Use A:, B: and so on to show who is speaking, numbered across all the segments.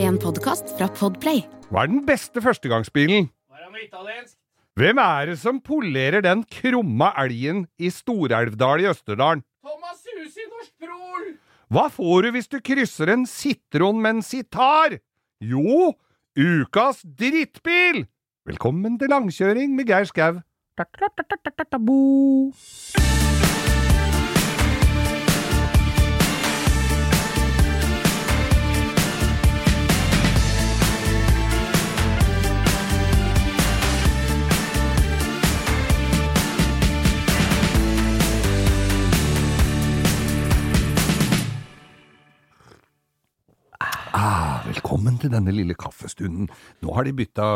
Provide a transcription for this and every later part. A: En podkast fra Podplay.
B: Hva er den beste førstegangsbilen? Hvem er det som polerer den krumma elgen i Storelvdal i Østerdalen?
C: Thomas Huse i Norsk Brol!
B: Hva får du hvis du krysser en sitron med en sitar? Jo, ukas drittbil! Velkommen til langkjøring med Geir Skau. Ah, velkommen til denne lille kaffestunden. Nå har de bytta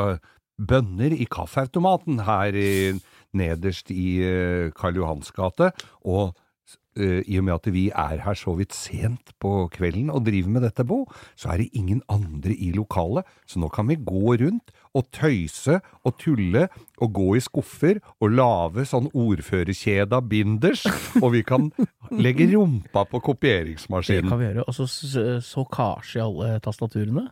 B: bønner i kaffeautomaten her i, nederst i eh, Karl Johans gate, og eh, i og med at vi er her så vidt sent på kvelden og driver med dette, Bo, så er det ingen andre i lokalet, så nå kan vi gå rundt og tøyse og tulle og gå i skuffer og lage sånn ordførerkjede av binders, og vi kan legge rumpa på
C: Det
B: kopieringsmaskinen.
C: kan vi gjøre. Og så s- så kasje i alle tastaturene.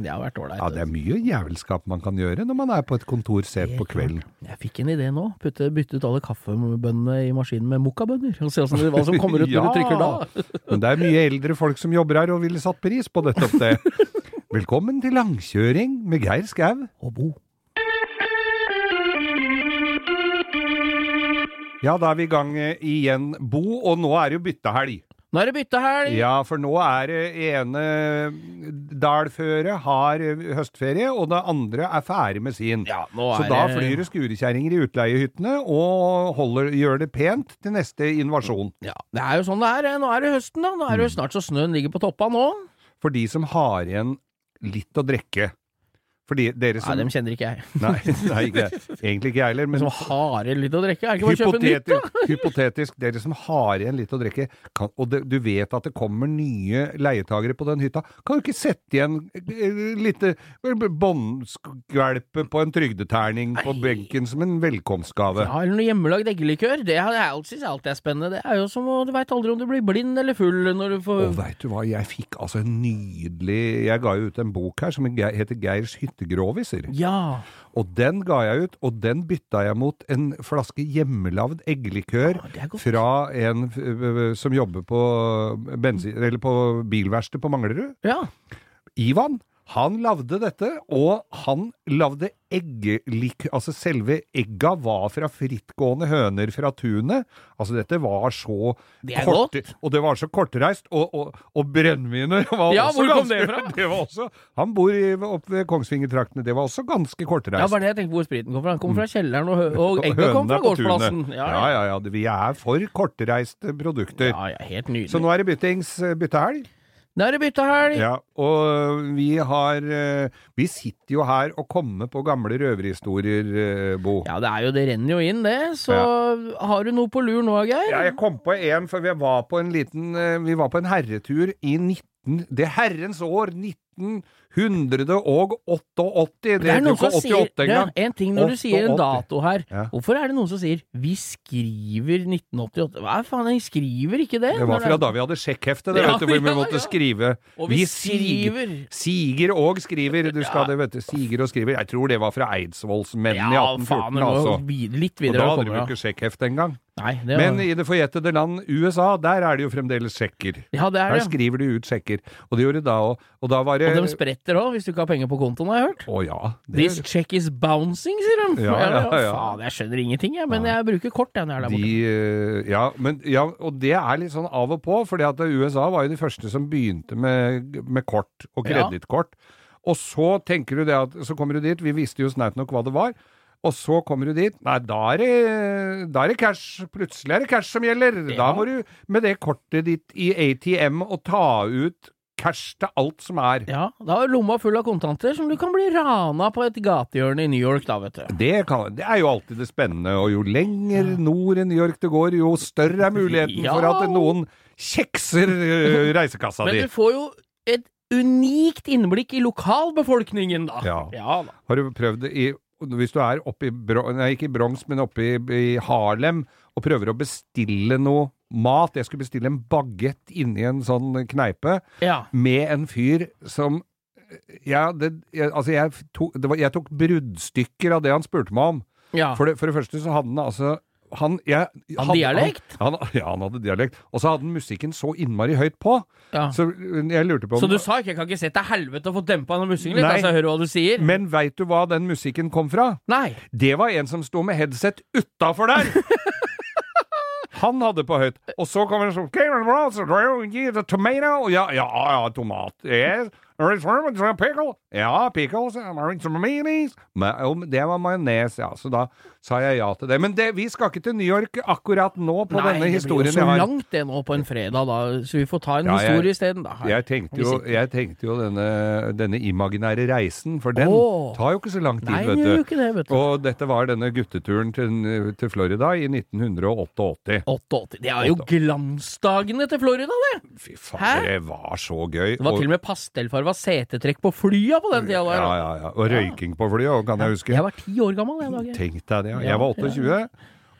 C: Det har vært ålreit.
B: Mm. Ja, det er mye jævelskap man kan gjøre når man er på et kontor sent på kvelden.
C: Jeg fikk en idé nå. Putte, bytte ut alle kaffebønnene i maskinen med mokkabønner. Og se hvordan det- hva som kommer ut når du trykker da.
B: Men det er mye eldre folk som jobber her og ville satt pris på nettopp det. Velkommen til langkjøring med Geir Skau.
C: Og bo.
B: Ja, da er vi i gang eh, igjen, Bo, og nå er det jo byttehelg.
C: Nå er det byttehelg!
B: Ja, for nå er det ene dalføret har eh, høstferie, og det andre er ferdig med sin.
C: Ja, nå
B: Så
C: er
B: da
C: det-
B: flyr det skurekjerringer i utleiehyttene og holder, gjør det pent til neste invasjon.
C: Ja, det er jo sånn det er. Nå er det høsten, da. Nå er det
B: Mm.
C: jo snart så snøen ligger på toppa nå.
B: for de som har igjen litt å drikke. For de, dere
C: Nei,
B: som
C: dem kjenner ikke jeg.
B: Nei, nei ikke, egentlig ikke jeg heller, men
C: Som har igjen litt å drikke. Er det ikke bare å kjøpe nytt, da?
B: hypotetisk, hypotetisk dere som har igjen litt å drikke, kan, og det, du vet at det kommer nye leietagere på den hytta, kan du ikke sette igjen eh, lite båndskvelpe på en trygdeterning på
C: Nei.
B: benken som en velkomstgave?
C: Ja, eller noe hjemmelagd eggelikør. Det har jeg alltid synes alltid er spennende. Det er jo som å Du veit aldri om du blir blind eller full når du får
B: Og veit du hva, jeg fikk altså en nydelig Jeg ga jo ut en bok her som Ge- heter Geirs hyttegroviser.
C: Ja.
B: Og den ga jeg ut, og den bytta jeg mot en flaske hjemmelavd eggelikør
C: Å, det er godt.
B: fra en f- ø, ø, som jobber på, bensin, eller på bilverksted på Manglerud.
C: Ja.
B: Ivan. Han lagde dette, og han lagde eggelik... Altså, selve egga var fra frittgående høner fra tunet. Altså, dette var så
C: Det er godt.
B: Og det var så kortreist. Og, og, og brennevinet var
C: Ja,
B: også
C: hvor kom det
B: ganske-
C: fra?
B: Det var også Han bor i, oppe ved Kongsvingertraktene. Det var også ganske kortreist.
C: Ja, bare det jeg tenkte hvor spriten kom fra. Den kom fra kjelleren, og, hø- og egget
B: Hønene Mm.
C: kom fra
B: på
C: gårdsplassen.
B: tunet. Ja, ja, ja. Vi er for kortreiste produkter.
C: ja, ja, helt nydelig.
B: Så nå er det byttings, eh, byttehelg.
C: Nå er det byttehelg!
B: Ja, og vi har eh, Vi sitter jo her og kommer på gamle røverhistorier, eh, Bo.
C: Ja, det er jo, det renner jo inn, det. Så har du noe på lur nå, Geir?
B: Ja, jeg kom på en, for vi var på en liten eh, Vi var på en herretur i 19... Det herrens år 1988. Det,
C: det er noen
B: ikke
C: som sier
B: 88 engang.
C: det er en ting når du sier en
B: 88.
C: dato her.
B: Ja.
C: Hvorfor er det noen som sier 'vi skriver 1988'? Hva faen, jeg skriver ikke det?
B: Det var
C: når
B: fra da vi hadde sjekkhefte, det,
C: Ja,
B: vet du, hvor vi
C: ja,
B: måtte
C: ja.
B: skrive.
C: Og vi
B: sig-
C: skriver.
B: Siger og skriver. Du skal
C: Ja.
B: det, vet du. Siger og skriver. Jeg tror det var fra Eidsvollsmennene
C: Ja,
B: i 1814,
C: faen, det må
B: altså.
C: vid- litt
B: Og da
C: videre å
B: hadde de jo
C: komme, ja.
B: ikke sjekkhefte engang.
C: Nei, det var,
B: Men i det forjettede land USA, der er det jo fremdeles sjekker.
C: ja, det er
B: Der
C: det.
B: skriver de ut sjekker. Og det gjorde de da òg. Og da var det
C: Og de spretter òg, hvis du ikke har penger på kontoen, har jeg hørt.
B: Å ja.
C: This
B: Det,
C: check is bouncing, sier de.
B: Ja, ja, ja.
C: Faen, jeg skjønner ingenting, jeg, men jeg bruker kort jeg, når jeg er der
B: de
C: borte.
B: eh, ja, men, ja, og det er litt sånn av og på, fordi at USA var jo de første som begynte med, med kort og
C: Ja.
B: kredittkort. Og så tenker du det at Så kommer du dit, vi visste jo snaut nok hva det var. Og så kommer du dit, nei, da er det, da er det cash. Plutselig er det cash som gjelder. Da
C: Ja.
B: må du med det kortet ditt i ATM og ta ut cash til alt som er.
C: Ja, da er lomma full av kontanter som du kan bli rana på et gatehjørne i New York, da, vet du.
B: Det, kan, det er jo alltid det spennende, og jo lenger nord i New York du går, jo større er muligheten
C: Ja.
B: for at noen kjekser ø, reisekassa
C: Men
B: di.
C: du får jo et unikt innblikk i lokalbefolkningen, da.
B: Ja.
C: da.
B: Har du prøvd det i Hvis du er oppe i Bro, Nei, ikke i Bronx, men oppe i, i Harlem og prøver å bestille noe mat Jeg skulle bestille en bagett inni en sånn kneipe
C: Ja.
B: med en fyr som ja, det, jeg, altså jeg, tok, det var, jeg tok bruddstykker av det han spurte meg om.
C: Ja.
B: For det, for det første så hadde han altså han, jeg,
C: Han
B: hadde-
C: dialekt?
B: Han, han, ja, han hadde dialekt. Og så hadde han musikken så innmari høyt på.
C: Ja.
B: Så jeg lurte på om
C: Så du sa ikke 'jeg kan ikke se til helvete og få dempa den musikken litt',
B: Nei.
C: altså jeg hører hva du sier?
B: Men veit du hva den musikken kom fra?
C: Nei.
B: Det var en som sto med headset utafor der! Han hadde på høyt. Og så kommer det sånn "Kevin Ross, do you need a tomato?" Ja, ja, ja, tomat. Yes. Pickle. Ja, pickles. Mayonnaise. Men, jo, men det var majones, ja. Så da sa jeg ja til det. Men det, vi skal ikke til New York akkurat nå på
C: Nei,
B: denne
C: det blir jo
B: historien
C: så
B: jeg har.
C: langt det nå på en fredag, da, så vi får ta en
B: Ja, jeg-
C: historie isteden, da.
B: Jeg tenkte jo, jeg tenkte jo denne, denne imaginære reisen, for den
C: Åh.
B: tar jo ikke så lang tid,
C: Nei,
B: vet
C: den
B: du.
C: gjør jo ikke det, vet du.
B: Og dette var denne gutteturen til, til Florida i 1988.
C: 88. Det er jo
B: Åtte.
C: glansdagene til Florida, det!
B: Fy
C: Hæ?
B: faen, det var så gøy.
C: Det var
B: og,
C: til og med pastellfarva setetrekk på flya på den tida der.
B: ja, ja, ja. og røyking på flyet òg, kan jeg huske.
C: Jeg var ti år gammel den dagen.
B: Tenk deg det. ja.
C: Ja,
B: Jeg var 28.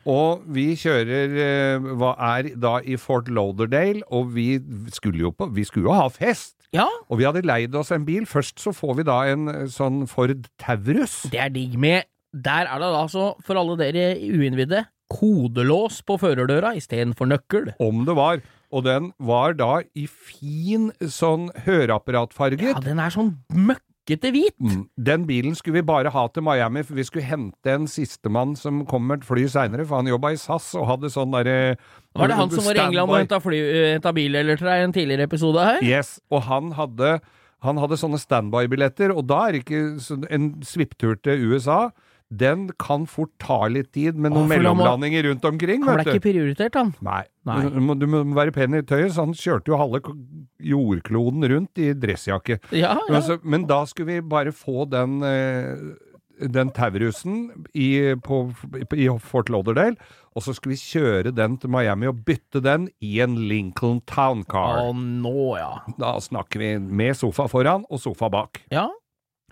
B: Og vi kjører eh, hva er da i Fort Lauderdale, og vi skulle jo, på, vi skulle jo ha fest!
C: Ja,
B: Og vi hadde leid oss en bil. Først så får vi da en eh, sånn Ford Taurus.
C: det er digg med Der er det da altså, for alle dere uinnvidde, kodelås på førerdøra istedenfor nøkkel.
B: Om det var. Og den var da i fin sånn høreapparatfarget.
C: Ja, den er sånn møkkete hvit!
B: Mm. Den bilen skulle vi bare ha til Miami, for vi skulle hente en sistemann som kom med et fly seinere, for han jobba i SAS og hadde sånn derre
C: Var det han som var i England og henta fly- eh, henta bil eller tre i en tidligere episode her?
B: Yes, og han hadde, han hadde sånne standby-billetter, og da er det ikke sånn- en svipptur til USA. Den kan fort ta litt tid, med noen
C: Å, for da må-
B: mellomlandinger rundt omkring,
C: Han ble
B: vet du.
C: ikke prioritert, han.
B: Nei.
C: Nei.
B: Du, må, du må være pen i tøyet, så han kjørte jo halve k- jordkloden rundt i dressjakke.
C: Ja,
B: Men,
C: ja.
B: altså, men da skulle vi bare få den, eh, den Taurusen i, på, i Fort Lauderdale, og så skulle vi kjøre den til Miami og bytte den i en Lincoln Town Car.
C: Å, nå, ja.
B: Da snakker vi med sofa foran og sofa bak.
C: Ja,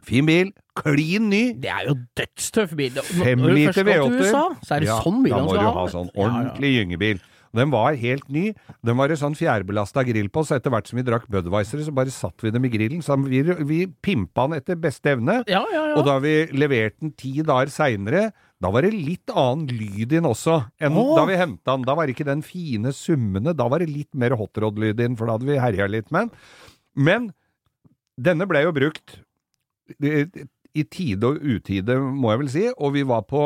B: Fin bil, klin ny!
C: det er jo dødstøff bil. Når- når
B: Fem
C: du først
B: liter
C: skal til
B: V8-er.
C: USA, så er det sånn bil
B: da
C: han
B: må
C: skal
B: du
C: ha.
B: ha
C: vet
B: sånn
C: du. Ja, ja.
B: ordentlig gyngebil. Den var helt ny. Den var en sånn fjærbelasta grill på, så etter hvert som vi drakk Budwiser, så bare satt vi dem i grillen. Så vi, vi pimpa den etter beste evne.
C: Ja, ja, ja.
B: Og da vi leverte den ti dager seinere, da var det litt annen lyd inn også enn
C: Åh.
B: da vi henta den. Da var det ikke den fine summende, da var det litt mer hotrod-lyd inn, for da hadde vi herja litt med den. Men denne ble jo brukt i i tide og utide, må jeg vel si, og vi var på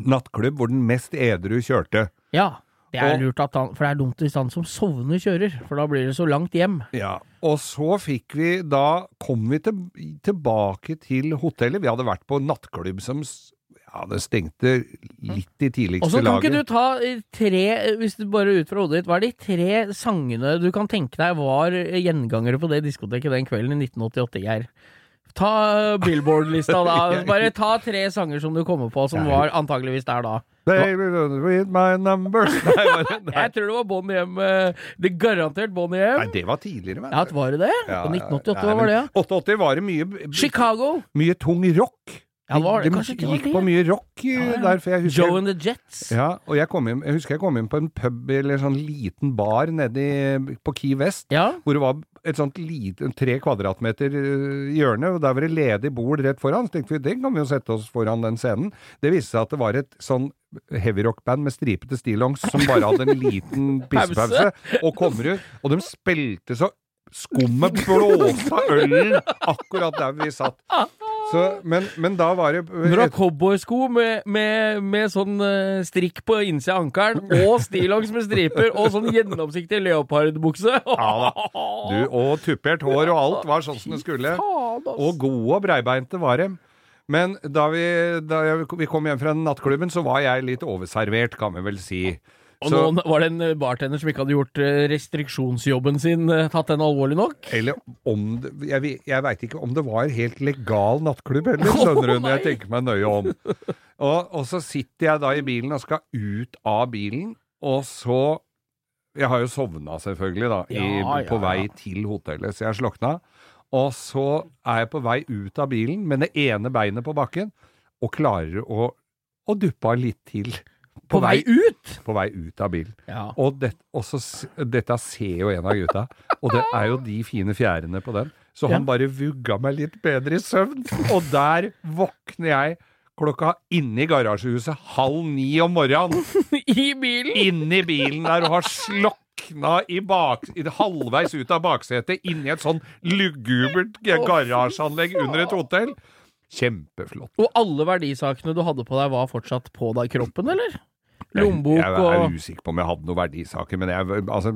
B: nattklubb hvor den mest edru kjørte.
C: ja. Det er
B: Og-
C: lurt at han, for det er dumt hvis han som sovner kjører, for da blir det så langt hjem.
B: Ja, og så fikk vi da kom vi til, tilbake til hotellet. Vi hadde vært på nattklubb som s- ja, det stengte litt i
C: Og
B: tidligste
C: så kan ikke du
B: laget.
C: ta eh, tre, eh, hvis du bare ut fra hodet ditt, hva er de tre sangene du kan tenke deg var eh, gjengangere på det diskoteket den kvelden i 1988, Geir? Ta eh, Billboard-lista da, bare ta tre sanger som du kommer på som var antageligvis der da.
B: Baby, don't read my numbers. Nei, var det, nei.
C: Jeg tror det var Bonnie M, eh, det er garantert Bonnie
B: nei,
C: M.
B: det var tidligere, vet
C: Ja, det var det det?
B: Ja,
C: På
B: ja,
C: 1988
B: nei,
C: var det, ja.
B: men 88 var det mye,
C: Chicago,
B: mye tung rock.
C: Ja, det var det.
B: De
C: Kanskje det var
B: gikk
C: det.
B: på mye rock eh,
C: ja.
B: der, for jeg husker
C: Joe and the Jets.
B: Ja, og jeg, kom inn, jeg husker jeg kom inn på en pub eller sånn liten bar nedi på Key West.
C: Ja.
B: hvor det var et sånt lite, tre kvadratmeter eh, hjørne, og der var det ledig bord rett foran. Så tenkte vi, det kan vi jo sette oss foran den scenen. Det viste seg at det var et sånn heavyrock-band med stripete stillongs som bare hadde en liten pissepause, og kommer ut, og de spilte så skummet blåsa ølen akkurat der vi satt. Så, men, men da var det
C: Når du har cowboysko med, med, med sånn eh, strikk på innsida av ankelen, og stillongs med striper, og sånn gjennomsiktig leopardbukse
B: da. du, Og tupert hår og alt var sånn som det skulle.
C: Faen, ass.
B: Og gode og breibeinte var de. Men da, vi, da jeg, vi kom hjem fra nattklubben, så var jeg litt overservert, kan vi vel si.
C: Og
B: Så,
C: nå var det en eh, bartender som ikke hadde gjort eh, restriksjonsjobben sin, eh, tatt den alvorlig nok.
B: eller om det, Jeg, vi- jeg veit ikke om det var en helt legal nattklubb heller, skjønner du, når jeg tenker meg nøye om. Og, og så sitter jeg da i bilen og skal ut av bilen, og så Jeg har jo sovna selvfølgelig, da, i,
C: Ja, ja,
B: på vei
C: ja.
B: til hotellet, så jeg slokna. Og så er jeg på vei ut av bilen med det ene beinet på bakken, og klarer å, å duppe av litt til.
C: På vei ut!
B: På vei ut av bilen.
C: Ja.
B: Og, det, og så, s- dette ser jo en av gutta, og det er jo de fine fjærene på den. Så han bare vugga meg litt bedre i søvn. Og der våkner jeg klokka inne i garasjehuset halv ni om morgenen.
C: I bilen!
B: Inni bilen der og har slokna i bak, i, halvveis ut av baksetet inni et sånn lugubert g-
C: Å, fy
B: garasjeanlegg
C: faen.
B: under et hotell. Kjempeflott.
C: Og alle verdisakene du hadde på deg, var fortsatt på deg kroppen, eller?
B: Jeg-
C: Lommebok
B: jeg,
C: og
B: er usikker på om jeg hadde noen verdisaker, men jeg, altså,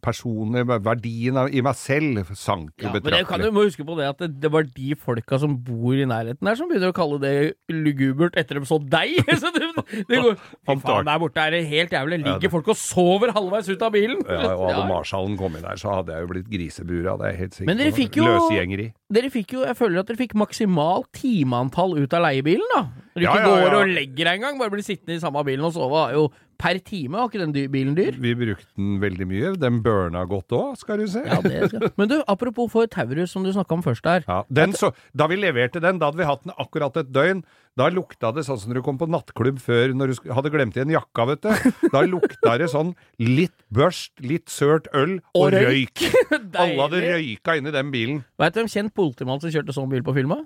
B: personer, verdien av, i meg selv sank
C: ja,
B: jo
C: men jeg kan,
B: betraktelig.
C: du må huske på det at det, det var de folka som bor i nærheten her, som begynner å kalle det lugubert etter de så deg. så det, det går, Fy
B: Antag-
C: faen, der borte er det helt jævlig.
B: Ja, det-
C: Ligger folk og sover halvveis ut av bilen?
B: Ja, og hadde
C: Ja.
B: Marshallen kommet der, så hadde jeg jo blitt grisebura. Det er jeg helt sikker
C: Men dere
B: på.
C: fikk jo-
B: Løsgjengeri.
C: Dere fikk jo, jeg føler at dere fikk maksimalt timeantall ut av leiebilen, da. Når du
B: Ja, ja,
C: ikke
B: ja.
C: går og legger deg engang, bare blir sittende i samme bilen og sove. er Jo, per time var ikke den dy- bilen dyr.
B: Vi brukte den veldig mye. Den burna godt òg, skal du se.
C: Ja, det skal. Men du, apropos for Taurus, som du snakka om først der.
B: Ja, den så, da vi leverte den, da hadde vi hatt den akkurat et døgn. Da lukta det sånn som når du kom på nattklubb før når du sk- hadde glemt igjen jakka, vet du. Da lukta det sånn litt børst, litt sølt øl og,
C: Og røyk.
B: røyk. Alle hadde røyka inni den bilen.
C: Veit du hvem kjent politimann som kjørte sånn bil på filma?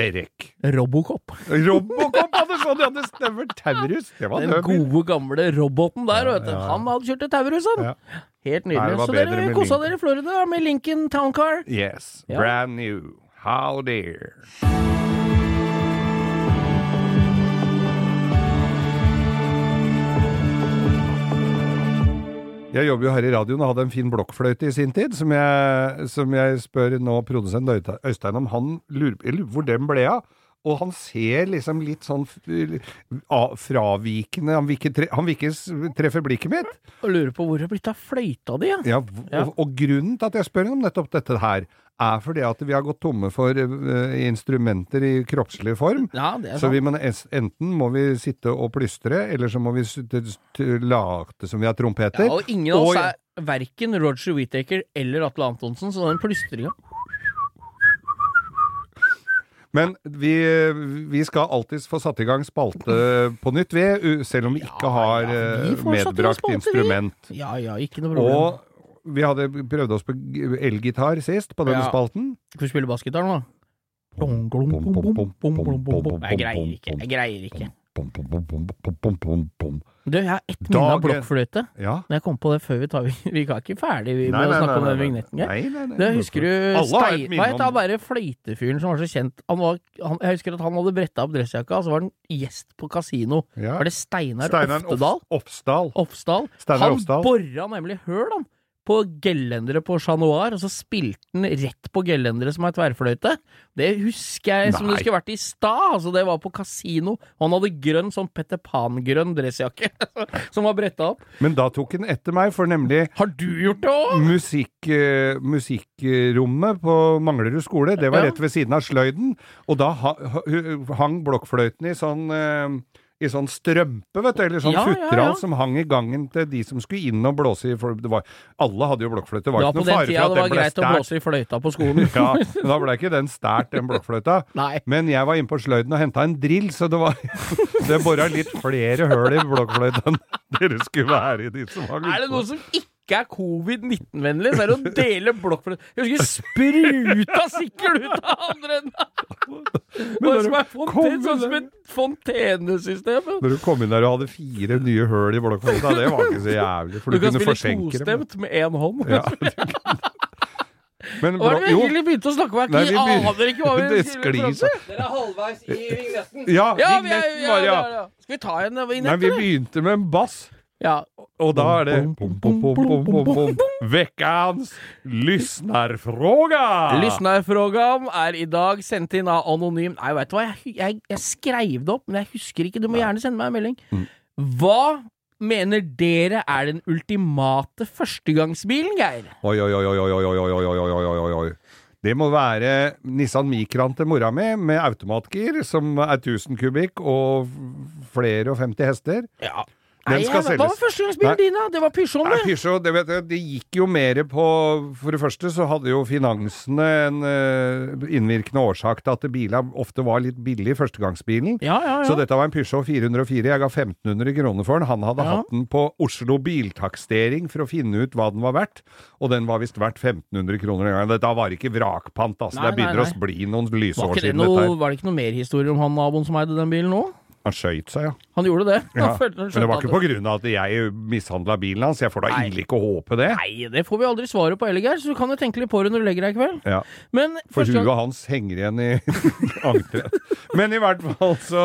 B: Derek.
C: Robocop.
B: Robocop hadde sånn, de hadde stemmer. Taurus. Det var
C: Den
B: død bil.
C: gode, gamle roboten der,
B: Ja,
C: vet du.
B: ja, ja.
C: Han hadde kjørt til Taurus, han.
B: Ja.
C: Helt
B: Nei, det
C: nydelig.
B: var
C: Så
B: bedre
C: dere
B: med
C: kosa
B: Lincoln.
C: dere i Florida med Lincoln Town Car.
B: Yes.
C: Ja.
B: Brand new. How dear. Jeg jobber jo her i radioen og hadde en fin blokkfløyte i sin tid, som jeg, som jeg spør nå produsent Øyte- Øystein om. Han lurer, jeg lurer på hvor den ble av. Og han ser liksom litt sånn f- a- fravikende Han vil ikke, tre, han vil ikke s- treffe blikket mitt.
C: Og lurer på hvor det er blitt av fløyta di, ja.
B: Ja, v-
C: Ja.
B: Og, og grunnen til at jeg spør om nettopp dette her, er fordi at vi har gått tomme for eh, instrumenter i kroppslig form.
C: Ja, det er
B: Så
C: sant.
B: vi må, nes- enten må vi sitte og plystre, eller så må vi s- t- t- late som vi har trompeter.
C: Ja, og ingen av oss
B: Og-
C: er verken Roger Whittaker eller Atle Antonsen, så den plystringa
B: Men vi, vi skal alltids få satt i gang spalte på nytt, vi, u- selv om vi ikke har
C: ja, vi
B: eh,
C: får satt i gang
B: medbrakt
C: spalte, vi.
B: instrument.
C: Ja ja, ikke noe problem.
B: Og vi hadde prøvd oss på g- elgitar sist, på denne
C: Ja.
B: spalten.
C: Skal vi spille bassgitar nå? Dong, glom, bom, bom, bom, bom, bom, bom, bom. Jeg greier ikke. Jeg greier ikke. Du, jeg har ett minne
B: Dag-
C: av blokkfløyte.
B: Ja.
C: Når jeg kom på det før vi tar Vi er ikke ferdig med å snakke om den vignetten. jeg.
B: Nei, nei, nei.
C: Det husker du
B: Alle har et
C: Stein...
B: minne
C: Hva
B: om-
C: het han derre fløytefyren som var så kjent? Han var, han, jeg husker at han hadde bretta opp dressjakka, og så var han gjest på kasino.
B: Ja.
C: Var det Steinar
B: Steinar
C: Oftedal?
B: Ops- Opsdal.
C: Ofsdal.
B: Steinar
C: han
B: Ofsdal.
C: bora nemlig høl han, på gelendere på Chat Noir, og så spilte han rett på gelendere som er tverrfløyte. Det husker jeg som
B: Nei.
C: det skulle vært i stad. Altså, det var på kasino, og han hadde grønn sånn Petter Pan-grønn dressjakke som var bretta opp.
B: Men da tok han etter meg, for nemlig
C: Har du gjort det òg?
B: Musikk, eh, musikkrommet på Manglerud skole, det var
C: Ja.
B: rett ved siden av sløyden. Og da ha, ha- hang blokkfløyten i sånn, eh, i sånn strømpe, vet du, eller sånn
C: Ja, ja,
B: futteral
C: ja.
B: som hang i gangen til de som skulle inn og blåse i for det var, Alle hadde jo blokkfløyte, det
C: Det
B: var
C: var
B: ikke
C: på
B: noe
C: den
B: fare for
C: tida det
B: at
C: var
B: den ble
C: greit å
B: stært.
C: blåse i fløyta på skolen.
B: Ja, men da ble ikke den stært, den blokkfløyta.
C: Nei.
B: Men jeg var inne på sløyden og henta en drill, så det var Det bora litt flere høl i blokkfløyta enn dere skulle være i de som var
C: Er det
B: ute.
C: noe som ikke er covid-19-vennlig, så er det å dele blokkfløyte. Jeg husker spruta sikkert ut av andre enden!
B: Men
C: Og
B: når
C: som er
B: du
C: fonten,
B: kom-
C: sånn som et fontenesystem.
B: Når du kom inn der og hadde fire nye høl i blokkfløyta, det var ikke så jævlig, for
C: Du
B: du,
C: kan
B: kunne
C: spille
B: forsenke dem.
C: tostemt med én hånd.
B: Ja, du kunne. Men
C: Hva er
B: blok-
C: det vi
B: jo,
C: egentlig begynte å snakke om?
B: Nei, vi
C: Jeg ikke-
B: begyn-
C: aner ikke hva vi
B: det
C: skulle
B: sklir
C: fram
B: så
C: til.
A: Dere er halvveis i vignetten.
B: Ja,
C: Ja, vi er,
B: vignetten
C: ja,
B: var ja.
C: ja, ja. Skal vi ta en eh,
B: Nei, vi
C: vignett, eller?
B: begynte med en bass,
C: Ja.
B: og da er det pom, pom, pom, pom, pom, pom. Vekkans lyssnarfråga!
C: Lyssnarfrågan er i dag sendt inn av anonym Nei, veit du hva, jeg, jeg, jeg skreiv det opp, men jeg husker ikke. Du må gjerne sende meg en melding.
B: Mm.
C: Hva mener dere er den ultimate førstegangsbilen, Geir?
B: Oi, oi, oi, oi, oi, oi, oi, oi, oi, oi, oi, oi. Det må være Nissan Micran til mora mi, med automatgir, som er 1000 kubikk og f- flere og 50 hester.
C: Ja.
B: Den skal
C: Hva var
B: selges. Nei.
C: førstegangsbilen din, da? Det var Pysjon,
B: Nei,
C: det.
B: Peugeot, det, vet jeg, det gikk jo mer på For det første så hadde jo finansene en eh, innvirkende årsak til at bilene ofte var litt billig, førstegangsbilen.
C: Ja, ja, ja.
B: Så dette var en Peugeot 404. Jeg ga 1500 kroner for den. Han hadde
C: Ja.
B: hatt den på Oslo Biltakstering for å finne ut hva den var verdt, og den var visst verdt 1500 kroner den gangen. Dette var ikke vrakpant, altså.
C: Nei,
B: det
C: nei,
B: begynner
C: nei.
B: å bli noen
C: var,
B: lysår
C: ikke det
B: siden
C: noe,
B: dette her.
C: var det ikke noe mer historie om han naboen som eide den bilen nå?
B: Han skøyt seg, ja.
C: Han gjorde det. Han
B: ja.
C: følte- han
B: Men
C: skjønte
B: det var
C: at-
B: ikke på grunn av at jeg mishandla bilen hans. Jeg får da
C: Nei.
B: ille ikke håpe det.
C: Nei, det får vi aldri svaret på, Ellegeir, så du kan jo tenke litt på det når du legger deg i kveld.
B: Ja.
C: Men
B: For
C: første gang-
B: huet hans henger igjen i ankeret. Men i hvert fall så,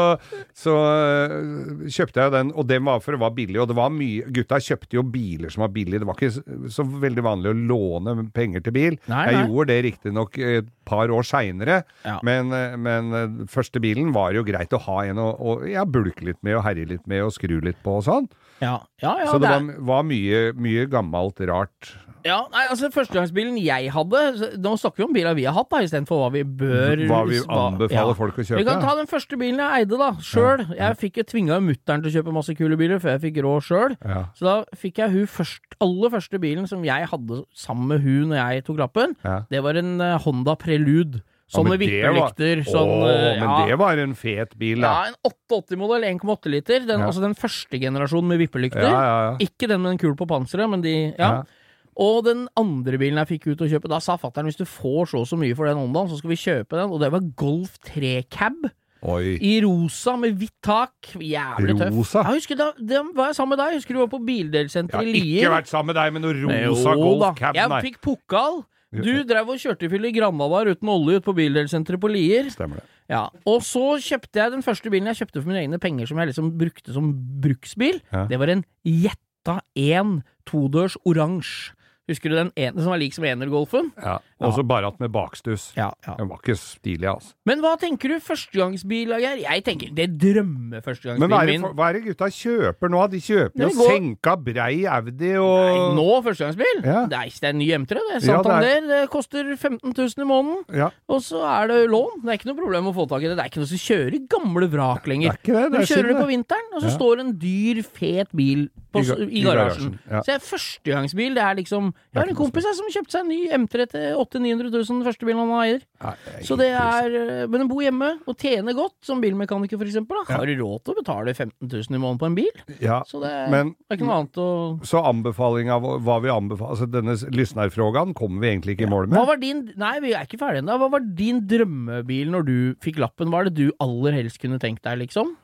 B: så øh, kjøpte jeg den, og den var for det var billig. Og det var mye Gutta kjøpte jo biler som var billige. Det var ikke så- så veldig vanlig å låne penger til bil.
C: Nei,
B: jeg
C: nei.
B: gjorde det riktignok et par år seinere,
C: Ja.
B: men, øh, men øh, første bilen var jo greit å ha en å å- ja, bulke litt med og herje litt med og skru litt på og sånn.
C: Ja, ja, ja,
B: så det
C: er-
B: var, var mye, mye gammelt rart.
C: Ja, nei, altså Førstegangsbilen jeg hadde så- Nå snakker vi om biler vi har hatt, da istedenfor hva vi bør
B: Hva vi
C: hva-
B: anbefaler folk å kjøpe,
C: Vi kan
B: ja.
C: ta den første bilen jeg eide, da. Sjøl. Jeg fikk jo tvinga mutter'n til å kjøpe masse kule biler før jeg fikk råd sjøl.
B: Ja.
C: Så da fikk jeg hun først, aller første bilen som jeg hadde sammen med hun når jeg tok lappen.
B: Ja.
C: Det var en eh, Honda Prelude.
B: Ja, men
C: Sånne
B: det var-
C: vippelykter. Sånn,
B: Åh,
C: eh, ja.
B: Men det var en fet bil, da.
C: Ja, en 88-modell 1,8 liter. Den,
B: Ja.
C: Altså den første generasjonen med vippelykter.
B: Ja, ja, ja.
C: Ikke den med den kul på panseret, men de ja.
B: Ja.
C: Og den andre bilen jeg fikk ut å kjøpe, da sa fatter'n hvis du får så og så mye for den Hondaen, så skal vi kjøpe den. Og det var Golf 3 Cab
B: Oi.
C: i rosa med hvitt tak. Jævlig tøff.
B: Rosa?
C: Ja, husker, da, da var jeg sammen med deg. Husker du var på
B: Jeg
C: bildelsenteret
B: har
C: i
B: ikke
C: Lier?
B: vært sammen med deg med noe rosa
C: Jo da.
B: Golf Cab, nei.
C: Jeg fikk pokal. Du drev og kjørte i fyll i Grandadar uten olje ute på bildelsenteret på Lier.
B: Stemmer det.
C: Ja, og så kjøpte jeg den første bilen jeg kjøpte for mine egne penger som jeg liksom brukte som bruksbil.
B: Ja.
C: Det var en Jetta 1 todørs oransje. Husker du den ene som var lik som energolfen?
B: Ja. Og så bare at med bakstuss.
C: Ja, ja.
B: Den var ikke stilig, altså.
C: Men hva tenker du førstegangsbil, Geir? Jeg tenker det drømmer
B: Men hva er,
C: førstegangsbilen
B: det,
C: min.
B: for- hva er det gutta kjøper nå? De kjøper
C: Nei,
B: jo
C: det går-
B: senka brei Audi
C: Nei,
B: og
C: nå førstegangsbil?
B: Ja.
C: Det, er, ikke- det er en ny M3, det.
B: Ja, det er-
C: Santander. det, koster 15 000 i måneden.
B: ja,
C: Og så er det lån. Det er ikke noe problem å få tak i det. Det er ikke noe som kjører i gamle vrak
B: Det
C: lenger.
B: er ikke det. Det
C: Du
B: er
C: kjører det
B: synd,
C: på
B: det.
C: vinteren, og så
B: Ja.
C: står en dyr, fet bil på,
B: I
C: s-
B: ga-
C: i
B: i
C: garasjen.
B: garasjen, ja.
C: Så jeg, førstegangsbil, det er liksom Jeg har
B: ikke
C: en
B: noe
C: kompis jeg, som kjøpte seg en ny M3 til 800 900 000, første bilen han eier.
B: Nei, det er
C: Så det
B: helt trist.
C: er øh, Men den bor hjemme og tjener godt, som bilmekaniker for eksempel. Da. Har du råd til å betale 15 000 i måneden på en bil?
B: ja.
C: Så det er,
B: Men
C: det er ikke noe annet å
B: så anbefalinga vår- hva vi anbefaler Altså denne s- lyssnarfrågan kommer vi egentlig ikke i mål
C: hva
B: med.
C: var din, nei, vi er ikke ferdige ennå. Hva var din drømmebil når du fikk lappen? Hva er det du aller helst kunne tenkt deg, liksom?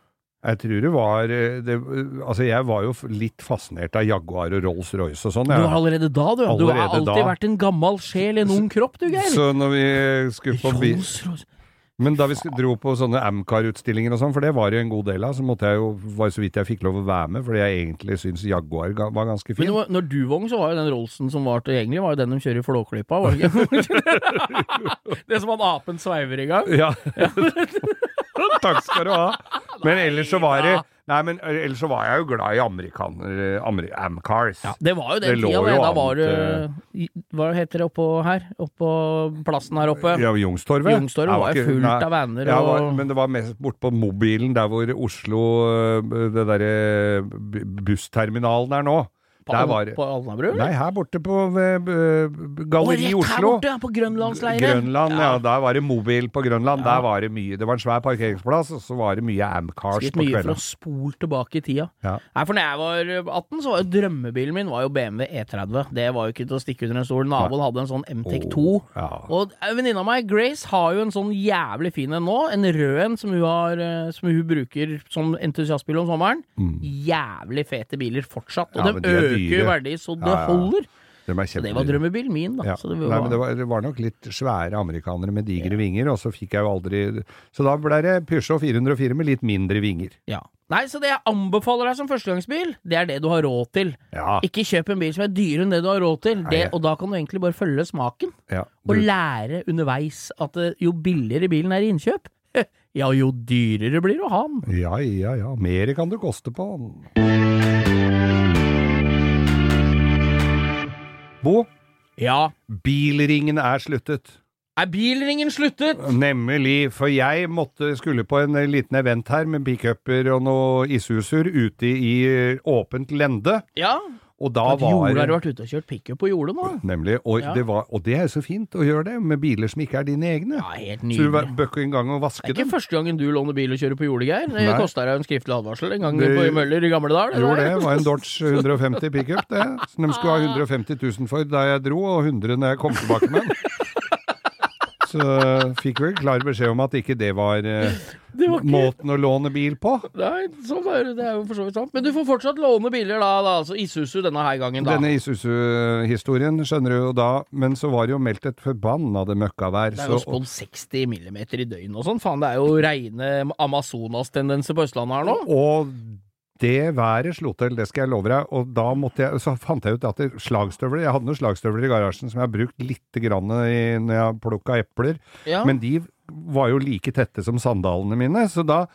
B: Jeg tror det var eh, det, Altså jeg var jo f- litt fascinert av Jaguar og Rolls-Royce og sånn.
C: Du
B: jeg.
C: var allerede da, du. du har
B: Allerede
C: alltid
B: da.
C: vært en gammel sjel i en ung kropp, du, Geir.
B: Så når vi skulle på bil
C: Rolls-Royce.
B: Men da vi sk- dro på sånne Amcar-utstillinger og sånn, for det var det en god del av, så måtte jeg jo, var det så vidt jeg fikk lov å være med, fordi jeg egentlig syns Jaguar ga- var ganske
C: Men
B: fin.
C: det var- når du var ung, så var jo den Rollsen som var tilgjengelig, var jo den de kjører i Flåklypa, var det ikke? det som han apen sveiver i gang.
B: Ja. Takk skal du ha. Men ellers så var det Nei, men eh, ellers så var jeg jo glad i amerikaner... Ameri Amcars.
C: Ja, det var jo
B: Det
C: den
B: lå
C: tida,
B: jo
C: det. Da
B: an
C: var
B: til-
C: det Hva heter det oppå her? Oppå plassen her oppe?
B: Ja, Youngstorget.
C: Youngstorget
B: Jeg
C: var jo
B: ikke-
C: fullt
B: nei,
C: av vaner
B: jeg var-
C: og-
B: Men det var mest bortpå mobilen der hvor Oslo øh, Det derre eh, bussterminalen er nå.
C: På,
B: Der var
C: på Alnabru?
B: Nei, her borte på ved, øh, Galleri
C: Å, rett her
B: Oslo.
C: borte, ja, på Grønlandsleiren.
B: Grønland, ja. Der var det mobil på Grønland. Der var det mye. Det var en svær parkeringsplass, og så var det mye Amcars
C: Litt
B: på
C: mye for å
B: kvelden.
C: spole tilbake i tida.
B: Ja.
C: Nei, for når jeg var 18, så var jo drømmebilen min var jo BMW E30. Det var jo ikke til å stikke under en stol. Naboen hadde en sånn MTEC 2.
B: Åh, ja.
C: Og en venninne av meg, Grace, har jo en sånn jævlig fin en nå. En rød en som hun, har, eh, som hun bruker som entusiastbil om sommeren. Jævlig fete biler fortsatt. Og
B: Mm. Ja, men
C: de
B: de er
C: øker
B: dyre.
C: verdi så
B: Ja,
C: det
B: ja, ja.
C: holder.
B: De er
C: Så det var
B: kjempedyre.
C: drømmebilen min, da.
B: Ja.
C: Så det
B: Nei,
C: var,
B: men det var, det var nok litt svære amerikanere med digre vinger, og så fikk jeg jo aldri Så da ble det Peugeot 404 med litt mindre vinger.
C: ja. Nei, så det jeg anbefaler deg som førstegangsbil, det er det du har råd til.
B: Ja.
C: Ikke kjøp en bil som er dyrere enn det du har råd til, det,
B: jeg-
C: og da kan du egentlig bare følge smaken.
B: ja.
C: Og
B: Du,
C: lære underveis at eh, jo billigere bilen er i innkjøp, ja, jo dyrere blir det å ha den.
B: ja, ja, ja. Mere kan det koste på Bo,
C: Ja,
B: bilringen er sluttet.
C: Er bilringen sluttet?
B: Nemlig, for jeg måtte, skulle på en eh, liten event her med pickuper og noe ishuser ute i eh, åpent lende,
C: Ja.
B: og da
C: At
B: var
C: jorda har vært ute og kjørt pickup på jordet nå.
B: Nemlig, og,
C: Ja.
B: det var, og det er jo så fint å gjøre det, med biler som ikke er dine egne.
C: Ja, helt
B: så du
C: nydelig.
B: bør ikke engang å vaske
C: Det er
B: dem.
C: ikke første gangen du låner bil og kjører på jordet, Geir. Det
B: Nei.
C: kosta deg en skriftlig advarsel en gang
B: Det-
C: på Møller i gamle dager.
B: Jo, det var en Dodge 150 pickup, det. Som de skulle ha 150 000 for da jeg dro, og 100 når jeg kom tilbake med den. Så fikk vel klar beskjed om at ikke det var, eh,
C: Det var ikke
B: måten å låne bil på.
C: Nei, sånn er det. Det er jo for så vidt sant. Men du får fortsatt låne biler, da. da altså Isuzu denne her gangen, da.
B: Denne Isuzu-historien skjønner du jo da, men så var det jo meldt et forbannede møkkavær.
C: det er jo
B: Så,
C: spådd 60 millimeter i døgnet og sånn. Faen, det er jo reine Amazonas-tendenser på Østlandet her nå.
B: og det været slo til, det skal jeg love deg. Og da måtte jeg, så fant jeg ut at det- slagstøvler Jeg hadde noen slagstøvler i garasjen som jeg har brukt lite grann i, når jeg har plukka epler.
C: Ja.
B: Men de var jo like tette som sandalene mine, så da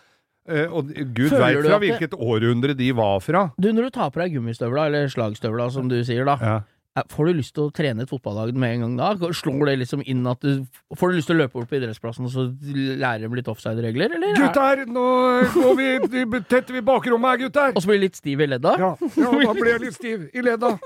B: eh, Og gud
C: Føler
B: veit
C: du
B: fra
C: at det-
B: hvilket århundre de var fra.
C: Du, når du tar på deg gummistøvla, eller slagstøvla som du sier, da.
B: Ja.
C: eh, Får du lyst til å trene et fotballag med en gang da? Slår det liksom inn at du Får du lyst til å løpe bort på idrettsplassen og så lære dem litt offside-regler, eller?
B: Gutter, nå går vi, tetter vi bakrommet her, gutter!
C: Og så blir du litt stiv i ledda?
B: Ja, ja, da ble jeg litt stiv i ledda.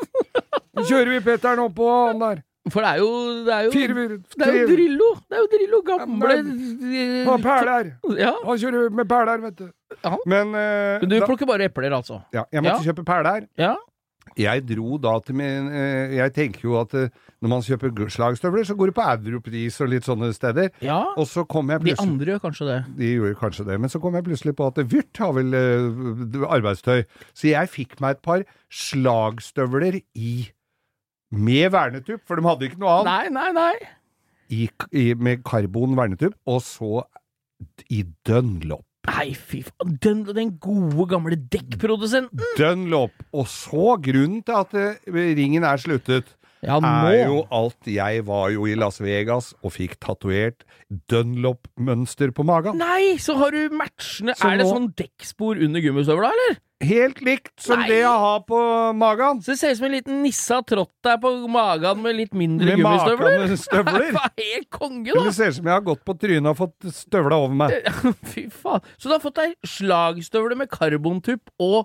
B: Kjører vi Petteren opp på han der.
C: For det er jo Det er jo,
B: Fire,
C: det er
B: tre,
C: jo Drillo! Det er jo Drillo, gamle eh,
B: han perler.
C: Ja.
B: Han kjører med perler, vet du.
C: Ja.
B: Men eh,
C: Men du
B: da,
C: plukker bare epler, altså?
B: ja, jeg måtte kjøpe perler.
C: Ja.
B: Jeg dro da til min eh, Jeg tenker jo at eh, når man kjøper gl- slagstøvler, så går det på europris og litt sånne steder.
C: ja.
B: Og så kom jeg
C: De
B: plutselig
C: andre gjør kanskje det.
B: De gjorde kanskje det, men så kom jeg plutselig på at Vyrt har vel eh, arbeidstøy. Så jeg fikk meg et par slagstøvler i Med vernetupp, for de hadde ikke noe annet.
C: Nei, nei, nei.
B: I, i, med karbon vernetupp, og så i Dunlop.
C: Nei, fy faen. Den, den gode, gamle dekkprodusenten.
B: Dunlop! Og så grunnen til at eh, ringen er sluttet,
C: Ja,
B: er jo
C: nå.
B: alt Jeg var jo i Las Vegas og fikk tatovert Dunlop-mønster på magen.
C: Nei, så har du matchende
B: Så
C: Er det
B: nå-
C: sånn dekkspor under gummistøvla, eller?
B: Helt likt som
C: Nei.
B: det jeg har på magen!
C: Så det ser ut som en liten nisse har trådt deg på magen med litt mindre
B: Med
C: gummistøvler.
B: makende støvler.
C: Faen, Helt konge,
B: Eller
C: da!
B: ser ut som jeg har gått på trynet og fått støvla over meg.
C: Fy faen. Så du har fått deg slagstøvle med karbontupp og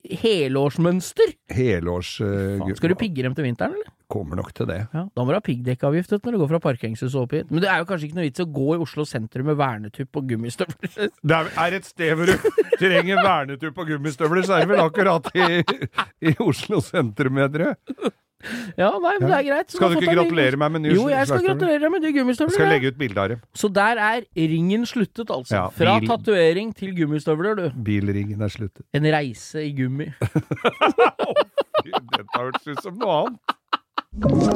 C: helårsmønster?
B: Helårs... eh,
C: Faen,
B: gutt.
C: skal du pigge dem til vinteren, eller?
B: Kommer nok til det.
C: Da må du ha piggdekkavgift vet du, når du går fra parkeringshuset og opp hit. Men det er jo kanskje ikke noe vits i å gå i Oslo sentrum med vernetupp og gummistøvler.
B: Det er- er et sted hvor du trenger vernetupp og gummistøvler, så er det vel akkurat i, i Oslo sentrum, jeg tror.
C: Ja, nei, men det er greit. Så
B: Skal du
C: da fått
B: ikke
C: deg
B: gratulere meg med ny
C: Jo, jeg skal
B: slagstøvler?
C: gratulere deg med nye
B: Jeg skal
C: gummistøvler. ja.
B: legge ut bilde av det.
C: Så der er ringen sluttet, altså.
B: Ja,
C: Fra
B: bil-
C: tatovering til gummistøvler, du.
B: Bilringen er sluttet.
C: En reise i gummi.
B: Fy, Dette hørtes ut som noe annet.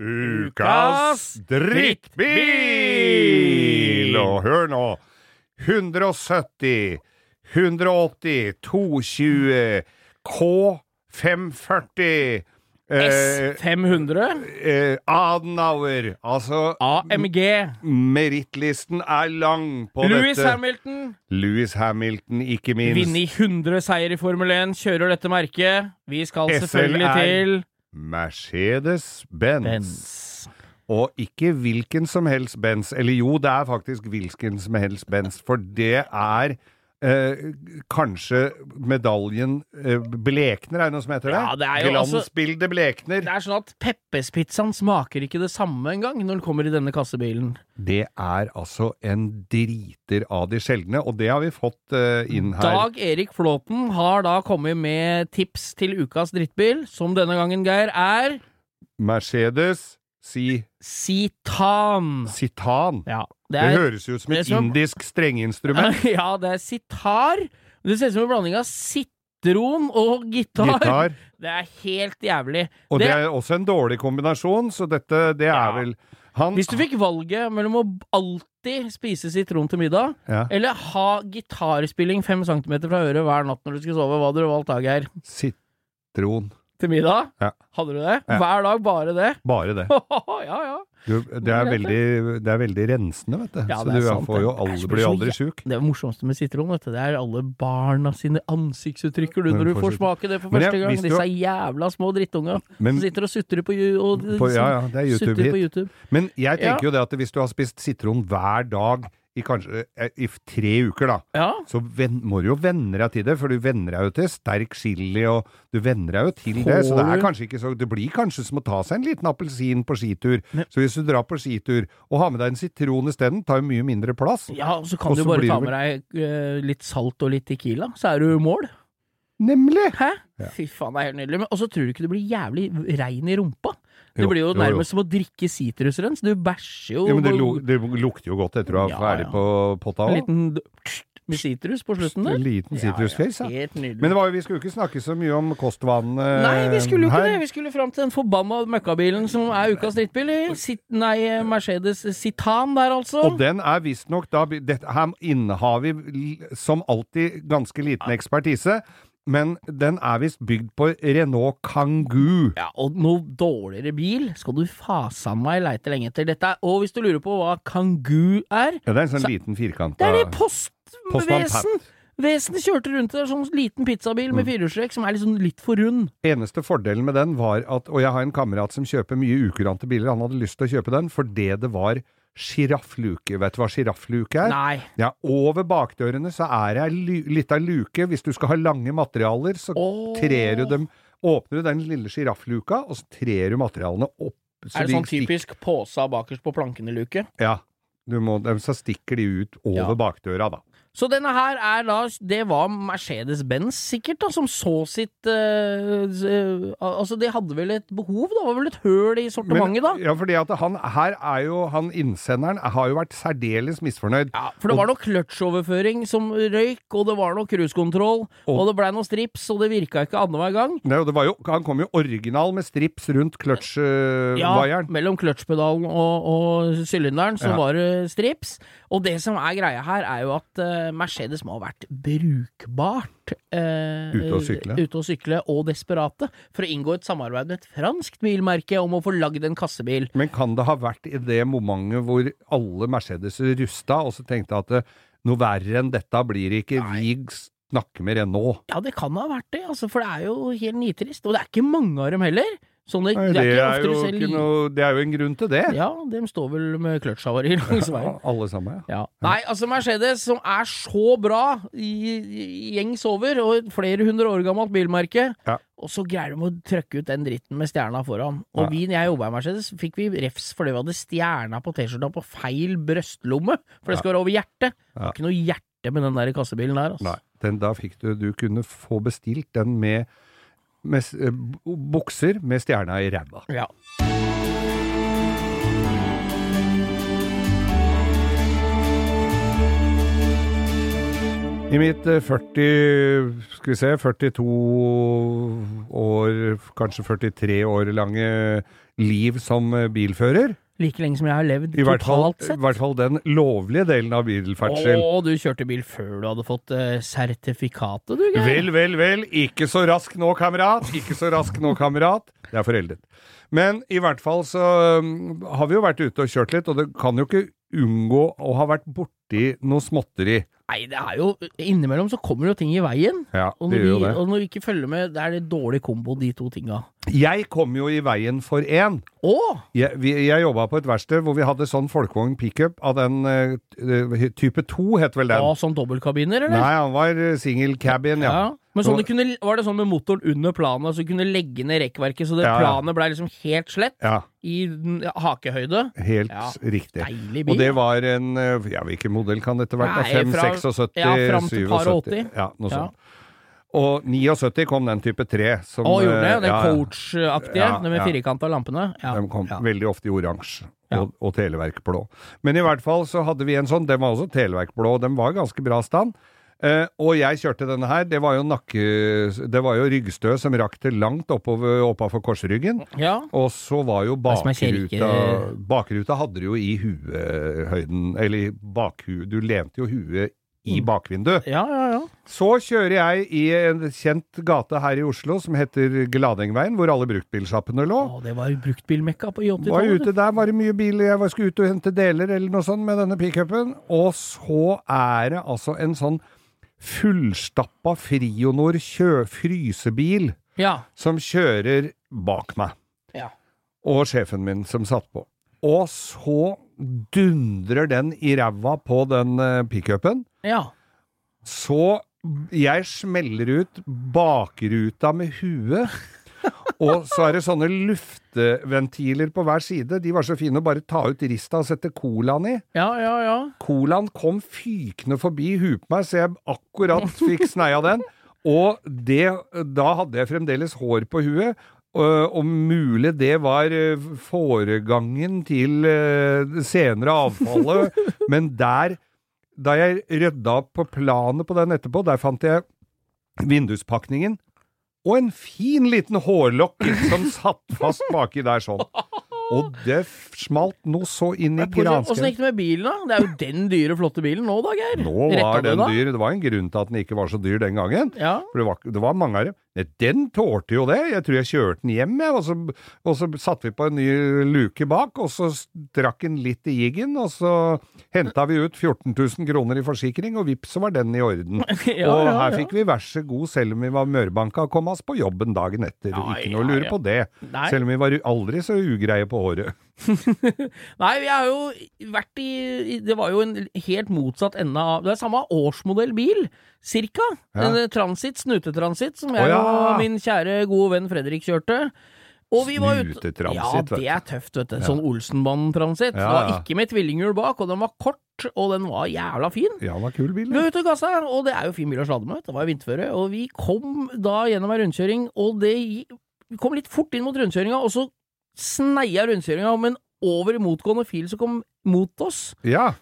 B: Ukas drittbil! Og hør nå. 170, 180, 220, K540 eh,
C: S500
B: eh, Adenauer. Altså,
C: AMG.
B: merittlisten er lang på
C: Louis
B: dette.
C: Hamilton.
B: Louis Hamilton, ikke minst.
C: Vunnet 100 seier i Formel 1. Kjører dette merket. Vi skal selvfølgelig
B: SLR.
C: til
B: Mercedes-Benz.
C: Benz.
B: Og ikke hvilken som helst Benz. Eller jo, det er faktisk hvilken som helst Benz, for det er eh, kanskje medaljen eh, blekner, er det noe som heter det?
C: Ja, det er jo altså-
B: Glansbildet blekner.
C: Det er sånn at Peppes-pizzaen smaker ikke det samme engang når den kommer i denne kassebilen.
B: Det er altså en driter av de sjeldne, og det har vi fått eh, inn her.
C: Dag Erik Flåten har da kommet med tips til ukas drittbil, som denne gangen, Geir, er
B: Mercedes si,
C: Sitan.
B: Sitan.
C: Ja,
B: Det,
C: det er
B: høres jo ut som
C: det
B: et
C: som-
B: indisk strengeinstrument.
C: Ja, det er sitar. Det ser ut som en blanding av sitron og gitar.
B: Gitar.
C: Det er helt jævlig.
B: Og det...
C: Det-
B: er også en dårlig kombinasjon, så dette, det er
C: Ja.
B: vel Han
C: Hvis du fikk valget mellom å alltid spise sitron til middag,
B: ja.
C: eller ha gitarspilling fem centimeter fra øret hver natt når du skulle sove, hva hadde du valgt da, Geir?
B: Sitron.
C: til middag.
B: Ja.
C: Hadde du det?
B: Ja.
C: Hver dag bare det?
B: Bare det.
C: ja, ja.
B: Du, det, er veldig, det er veldig rensende, vet du.
C: Ja,
B: så
C: det er
B: du
C: sant,
B: får jo
C: det.
B: aldri,
C: Jeg blir
B: blir
C: så
B: aldri sjuk.
C: Det morsomste med sitron, vet du, det er alle barna sine ansiktsuttrykker du,
B: Når
C: når
B: du
C: du
B: får
C: får
B: sitt-
C: smake det for
B: Men jeg-
C: første gang.
B: hvis du-
C: Disse jævla små drittunga
B: Men-
C: som sitter og sutrer på, ju- og,
B: På, ja, ja, det er
C: sutrer på
B: YouTube-hit.
C: YouTube.
B: Men jeg tenker
C: Ja.
B: jo det at hvis du har spist sitron hver dag i kanskje eh, i f- tre uker, da,
C: Ja.
B: så ven, må du jo venne deg til det, for du venner deg jo til sterk chili, og du venner deg jo til det. Så det
C: Får
B: er
C: du-
B: kanskje ikke så Det blir kanskje som å ta seg en liten appelsin på skitur.
C: Men-
B: Så hvis du drar på skitur og har med deg en sitron isteden, tar jo mye mindre plass.
C: ja, og så kan
B: Og så
C: du bare
B: blir
C: ta
B: det
C: med deg eh, litt salt og litt tequila, så er du i mål.
B: Nemlig!
C: Hæ?
B: Ja.
C: Fy faen, det er helt nydelig. Men- Og så tror du ikke du blir jævlig rein i rumpa. Det
B: Jo,
C: blir jo
B: jo, jo.
C: nærmest som å drikke sitrusrens. Du bæsjer jo
B: Ja, men det, lu- det lukter jo godt etter å ha
C: Ja,
B: ferdig
C: ja.
B: på potta
C: en
B: òg.
C: liten d- med sitrus på slutten der.
B: En liten sitrusfjes,
C: ja.
B: ja.
C: Helt nydelig.
B: Men det var, jo- vi skulle jo ikke snakke så mye om kostvanene
C: Nei, vi skulle jo ikke
B: her.
C: det. Vi skulle fram til den forbanna møkkabilen som er ukas drittbil. Sit, nei, Mercedes Citan der, altså.
B: Og den er visstnok da dette, Her innehar vi l- som alltid ganske liten ekspertise, men den er visst bygd på Renault Kangoo.
C: ja, og noe dårligere bil skal du fasan meg leite lenge etter. Dette er, og hvis du lurer på hva Kangoo er,
B: Ja, det er en sånn
C: Så-
B: liten firkant.
C: det er det
B: Postmann
C: postvesen!
B: Pat.
C: Vesenet kjørte rundt der, sånn liten pizzabil med firehjulstrekk som er liksom litt for rund.
B: Eneste fordelen med den var at Og jeg har en kamerat som kjøper mye ukurante biler. Han hadde lyst til å kjøpe den fordi det var sjiraffluke. Vet du hva sjiraffluke er?
C: Nei.
B: Ja, over bakdørene så er det ei lu- lita luke. Hvis du skal ha lange materialer, så
C: Åh.
B: trer du dem Åpner du den lille sjiraffluka, og så trer du materialene opp. så
C: er det
B: de
C: sånn
B: stikker-
C: typisk påsa bakerst på plankene-luke?
B: Ja. Du må, dem- så stikker de ut over
C: Ja.
B: bakdøra, da.
C: Så denne her er da Det var Mercedes-Benz sikkert, da, som så sitt eh, s- eh, Altså, de hadde vel et behov, da? Var vel et høl i sortimentet, da?
B: ja, fordi at han her er jo Han innsenderen har jo vært særdeles misfornøyd.
C: Ja, for det var noe kløtsjoverføring som røyk, og det var noe cruisekontroll, og, det blei noe strips, og det virka ikke annenhver gang.
B: Nei, og det var jo, han kom jo original med strips rundt
C: Ja,
B: kløtsjvaieren.
C: mellom kløtsjpedalen og, og sylinderen så
B: Ja.
C: var det strips. Og det som er greia her, er jo at eh, Mercedes må ha vært brukbart eh,
B: Ute og sykle.
C: ute og sykle og desperate for å inngå et samarbeid med et franskt bilmerke om å få lagd en kassebil.
B: Men kan det ha vært i det momentet hvor alle Mercedeser rusta, og så tenkte at eh, noe verre enn dette blir ikke, vi snakker med Renault.
C: Ja, det kan ha vært det, altså, for det er jo helt nitrist. Og det er ikke mange av dem heller. Sånne,
B: Nei,
C: det er ikke ofte
B: jo
C: du ser
B: ikke
C: li-
B: noe, det er jo en grunn til det.
C: Ja, dem står vel med kløtsjhavari langs veien.
B: Alle sammen, ja.
C: Ja. Nei, altså Mercedes, som er så bra i, i- gjengs over, og et flere hundre år gammelt bilmerke,
B: Ja.
C: og så greier de å trøkke ut den dritten med stjerna foran. Og
B: Ja.
C: vi, når jeg jobba i Mercedes, fikk vi refs fordi vi hadde stjerna på T-skjorta på feil brøstlomme, for det skal være over hjertet. Det
B: Ja.
C: var ikke noe hjerte med den der kassebilen der, altså.
B: Nei, den da fikk du Du kunne få bestilt den med, med s- eh, bu- bukser med stjerna i ræva.
C: Ja.
B: I mitt eh, 40 Skal vi se 42 år, kanskje 43 år lange liv som eh, bilfører.
C: Like lenge som jeg har levd,
B: I hvert fall,
C: totalt
B: i
C: sett.
B: hvert fall den lovlige delen av bilferdsel.
C: Å, du kjørte bil før du hadde fått eh, sertifikatet, du, Geir.
B: Vel, vel, vel. Ikke så rask nå, kamerat. Ikke så rask nå, kamerat. Det er foreldet. Men i hvert fall så um, har vi jo vært ute og kjørt litt, og det kan jo ikke unngå å ha vært borti noe småtteri.
C: Nei, det er jo Innimellom så kommer det jo ting i veien.
B: Ja,
C: Og
B: det
C: når,
B: gjør jo
C: vi,
B: det.
C: og når vi ikke følger med, det er det dårlig kombo, de to tinga.
B: Jeg kom jo i veien for én.
C: Å!
B: Jeg, vi- jeg jobba på et verksted hvor vi hadde sånn folkevogn pickup av den eh, t- eh, type 2, het vel den.
C: Ja, sånn dobbeltkabiner, eller?
B: Nei, han var eh, single cabin, ja.
C: Men sånn
B: Og-
C: det kunne, var det sånn med motoren under planet, så du kunne legge ned rekkverket, så det
B: Ja, ja.
C: planet blei liksom helt slett
B: ja.
C: i den- ja, hakehøyde?
B: Helt
C: Ja.
B: riktig.
C: Deilig
B: Og
C: bil.
B: det var en eh, Ja, hvilken modell kan dette ha vært?
C: Nei,
B: 5,
C: fra-
B: 76,
C: ja, fram til par
B: 77
C: 80.
B: Ja, noe
C: Ja.
B: sånt. Og 79 kom den type 3. Som,
C: Å, gjorde det?
B: eh,
C: Den
B: ja, ja.
C: coach-aktige,
B: Ja,
C: den med
B: ja.
C: firkanta lampene? Ja.
B: De kom
C: ja.
B: veldig ofte i oransje.
C: Ja.
B: Og, og televerkblå. Men i hvert fall så hadde vi en sånn, den var også televerkblå, og den var i ganske bra stand. Eh, og jeg kjørte denne her, det var jo nakke... Det var jo ryggstø som rakk til langt oppover, oppafor korsryggen.
C: ja.
B: Og så var jo
C: som er kjerke-
B: bakruta Bakruta hadde du jo i
C: Mm.
B: huehøyden Eller i bakhu... Du lente jo huet i bakvinduet.
C: Ja, ja, ja.
B: Så kjører jeg i en kjent gate her i Oslo som heter Gladengveien, hvor alle bruktbilsjappene lå.
C: Å, det var bruktbilmekka på
B: Var jeg
C: I80-tallet.
B: ute der, var det mye biler, jeg var- skulle ut og hente deler eller noe sånt med denne pickupen. Og så er det altså en sånn fullstappa Frionor kjø frysebil
C: Ja.
B: som kjører bak meg.
C: Ja.
B: Og sjefen min som satt på. Og så dundrer den i ræva på den eh, pickupen.
C: ja.
B: Så jeg smeller ut bakruta med huet. Og så er det sånne lufteventiler på hver side. De var så fine å bare ta ut rista og sette colaen i.
C: Ja, ja, ja.
B: Colaen kom fykende forbi huet på meg, så jeg akkurat fikk sneia den. Og det, da hadde jeg fremdeles hår på huet. øh, Og mulig det var øh, foregangen til øh, senere avfallet. Men der, da jeg rydda opp på planet på den etterpå, der fant jeg vinduspakningen. Og en fin liten hårlokk som satt fast baki der sånn. Og det f- smalt noe så inn i
C: Åssen
B: gransken.
C: gikk det med bilen, da? Det er jo den dyre, flotte bilen nå da, Geir.
B: Nå
C: Retta
B: var
C: du
B: den
C: da?
B: dyr. Det var en grunn til at den ikke var så dyr den gangen.
C: Ja.
B: For det var, det var mange av dem. Nei, Den tålte jo det. Jeg tror jeg kjørte den hjem, jeg. Og så, og så satte vi på en ny luke bak, og så drakk den litt i jiggen, og så henta vi ut 14 000 kroner i forsikring, og vips, så var den i orden.
C: Ja,
B: og
C: ja,
B: her
C: ja.
B: fikk vi vær så god, selv om vi var mørbanka, og kom oss på jobben dagen etter.
C: Ja,
B: ikke noe å
C: ja,
B: lure
C: ja.
B: på det.
C: Nei.
B: Selv om vi var aldri så ugreie på håret.
C: Nei, vi har jo vært i i- Det var jo en helt motsatt ende av Det er samme årsmodell bil, cirka.
B: Ja.
C: En eh, transit, snutetransit, som
B: Å,
C: jeg
B: ja.
C: og min kjære gode venn Fredrik kjørte. Og vi var ute Ja,
B: Snutetransit, vet
C: det
B: du.
C: er tøft, vet du. Sånn Olsenbanen-transit. Det
B: Ja,
C: var
B: ja.
C: ikke med tvillinghjul bak, og den var kort, og den var jævla fin.
B: Ja, det var kul bil. det.
C: Vi var ute og gassa, og det er jo fin bil å slade med. vet du. Det var jo vinterføre. Og vi kom da gjennom ei rundkjøring, og det gi- Vi kom litt fort inn mot rundkjøringa, og så sneia rundkjøringa om en over i motgående fil som kom mot oss.
B: Ja.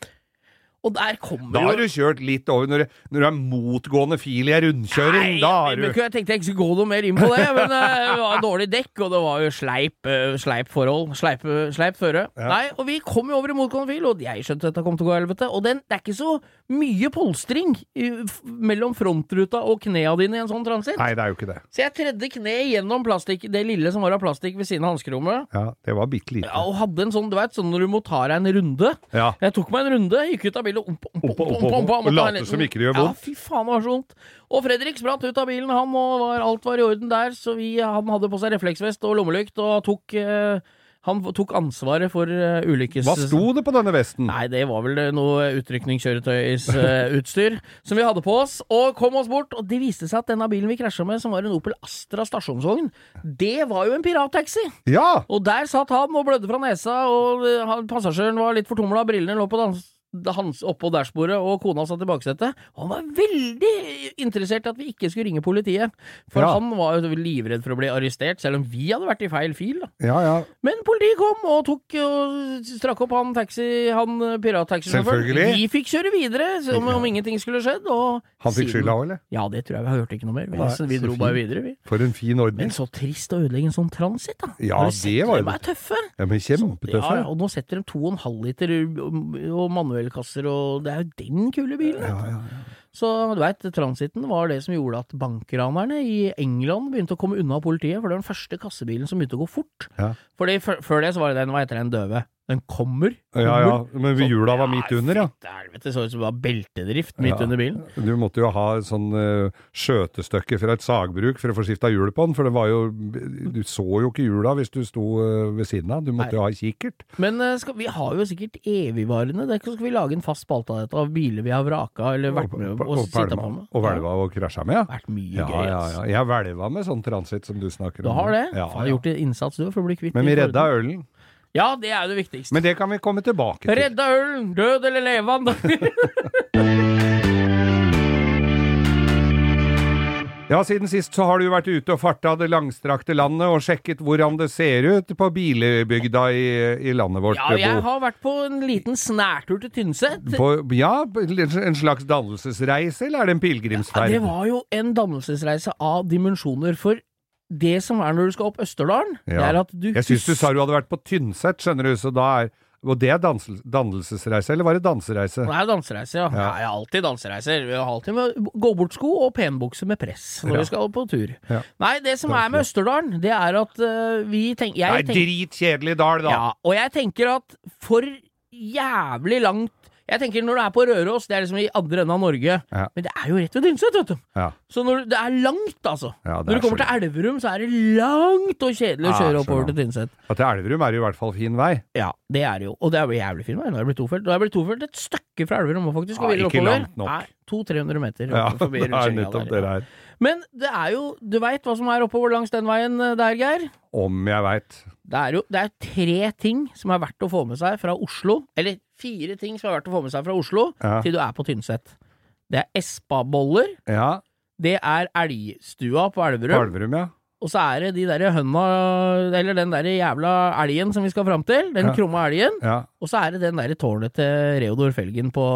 C: Og der kommer
B: Da
C: jo
B: har du kjørt litt over når, det- når du er motgående fil i en rundkjøring.
C: Nei,
B: da har du
C: men Jeg tenkte jeg ikke skulle gå noe mer inn på det, men eh, det var dårlig dekk, og det var jo sleip, eh, sleip forhold. Sleip, eh, sleip føre.
B: Ja.
C: Nei, og vi kom jo over i motgående fil, og jeg skjønte dette kom til å gå i helvete. Og den, det er ikke så mye polstring i, f mellom frontruta og knea dine i en sånn transit.
B: Nei, det er jo ikke det.
C: Så jeg tredde kneet gjennom plastikk, det lille som var av plastikk ved siden av hanskerommet,
B: Ja, det var bitte lite.
C: og hadde en sånn, du veit, sånn når du må ta deg en runde.
B: Ja.
C: Jeg tok meg en runde, gikk ut av bilen ompa, ompa,
B: Ompa,
C: ompa,
B: ompa,
C: ompa, ompa,
B: og
C: måtte ha
B: late
C: en
B: som
C: liten-
B: ikke det gjør
C: Ja,
B: vondt.
C: fy faen, det var så vondt. Og Fredrik spratt ut av bilen, han, og var, alt var i orden der, så vi, han hadde på seg refleksvest og lommelykt, og tok, eh, han tok ansvaret for eh, ulykkes...
B: Hva sto det på denne vesten?
C: Nei, det var vel eh, noe utrykningskjøretøysutstyr eh, som vi hadde på oss, og kom oss bort. Og det viste seg at denne bilen vi krasja med, som var en Opel Astra stasjonsvogn, det var jo en pirattaxi!
B: Ja!
C: Og der satt han og blødde fra nesa, og eh, han- passasjeren var litt fortumla, brillene lå på dans... Hans oppå dashbordet, og kona satt i baksetet. Og han var veldig interessert i at vi ikke skulle ringe politiet, for
B: Ja.
C: han var jo livredd for å bli arrestert, selv om vi hadde vært i feil fil. Da.
B: Ja, ja.
C: Men politiet kom og tok og strakk opp han taxi, han eh, pirattaxisjåføren.
B: Selvfølgelig.
C: Vi fikk kjøre videre som om ingenting skulle skjedd. Og
B: Han fikk
C: siden-
B: skylda òg, eller?
C: Ja, det tror jeg vi hørte ikke noe mer. Vi,
B: Nei,
C: så vi
B: så
C: dro
B: fint.
C: bare videre, vi.
B: For en fin
C: Men
B: ordning.
C: så trist å ødelegge en sånn transit, da.
B: Ja,
C: Når
B: det
C: setter
B: var jo-
C: dem er tøffe.
B: Ja, men
C: Ja, ja,
B: kjempetøffe.
C: og nå setter de 2,5 liter og manuellkasser, og det er jo den kule bilen.
B: Ja, ja.
C: Så du veit, transiten var det som gjorde at bankranerne i England begynte å komme unna politiet, for det var den første kassebilen som begynte å gå fort.
B: Ja.
C: Fordi før, før det så var det den, hva heter den, døve? Den kommer.
B: ja, ja. Men
C: Sånn,
B: hjula var midt under, ja.
C: fytte Helvete, så ut som det var beltedrift midt
B: Ja.
C: under bilen.
B: Du måtte jo ha et sånn eh, skjøtestykke fra et sagbruk for å få skifta hjul på den, for det var jo Du så jo ikke hjula hvis du sto eh, ved siden av. Du måtte jo ha kikkert.
C: Men eh, skal, vi har jo sikkert evigvarende det er ikke- Skal vi lage en fast spalte av dette, av biler vi har vraka eller vært med og, og sitta på med?
B: og hvelva og krasja med, ja.
C: Det har vært mye
B: Ja,
C: gøy.
B: ja,
C: ass.
B: ja. Jeg hvelva med sånn transit som du snakker om.
C: Du har det?
B: Ja,
C: Faen,
B: ja.
C: Gjort en innsats du for å bli kvitt
B: Men
C: de
B: vi redda
C: fordommene.
B: ølen.
C: Ja, det er jo det viktigste.
B: Men det kan vi komme tilbake til.
C: Redda ølen! Død eller levende!
B: Ja, Siden sist så har du jo vært ute og farta det langstrakte landet og sjekket hvordan det ser ut på bilbygda i, i landet vårt.
C: ja, jeg har vært på en liten snærtur til Tynset.
B: Bo. På, ja, en slags dannelsesreise, eller er det en
C: Ja,
B: pilegrimsferd?
C: det var jo en dannelsesreise av dimensjoner. For det som er når du skal opp Østerdalen, det
B: Ja.
C: er at du
B: Jeg syns du sa du hadde vært på Tynset, skjønner du, så da er, Og det er dansel- dannelsesreise, eller var det dansereise?
C: Det er jo dansereise, ja. ja.
B: Ja.
C: ja alltid dansereiser. Vi har alltid med gåbortsko og penbukse med press når
B: Ja.
C: vi skal på tur.
B: Ja.
C: Nei, det som er med Østerdalen, det er at eh, vi tenker
B: Det
C: jeg
B: er
C: tenker-
B: dritkjedelig dal, da!
C: Ja, og jeg tenker at for jævlig langt Jeg tenker når du er på Røros, det er liksom i andre enden av Norge,
B: Ja.
C: men det er jo rett ved Dynset, vet du.
B: Ja.
C: Så når, det er langt, altså.
B: Ja, det
C: når
B: er
C: du kommer
B: så
C: til Elverum, så er det langt og kjedelig å
B: Ja, så
C: kjøre oppover
B: langt.
C: til Tynset.
B: Ja, til Elverum er det i hvert fall fin vei.
C: Ja, det er det jo. Og det er jo jævlig fin vei. Nå er det blitt tofelt. Nå er det blitt tofelt et stykke fra Elverum, faktisk,
B: Ja,
C: og videre
B: ikke
C: oppover.
B: langt nok.
C: Nei, 200-300 meter
B: Ja,
C: forbi
B: det er
C: rundkjøringa
B: nettopp
C: der.
B: det der.
C: Men det er jo Du veit hva som er oppover langs den veien eh, der, Geir?
B: Om jeg veit.
C: Det er jo det er tre ting som er verdt å få med seg fra Oslo, eller fire ting som er verdt å få med seg fra Oslo
B: Ja.
C: til du er på Tynset. Det er Espa-boller,
B: ja.
C: det er elgstua på
B: På
C: Elverum,
B: Elverum, ja.
C: og så er det de derre hønna Eller den derre jævla elgen som vi skal fram til, den
B: Ja.
C: krumme elgen,
B: ja.
C: og så er det den derre tårnet til Reodor Felgen på,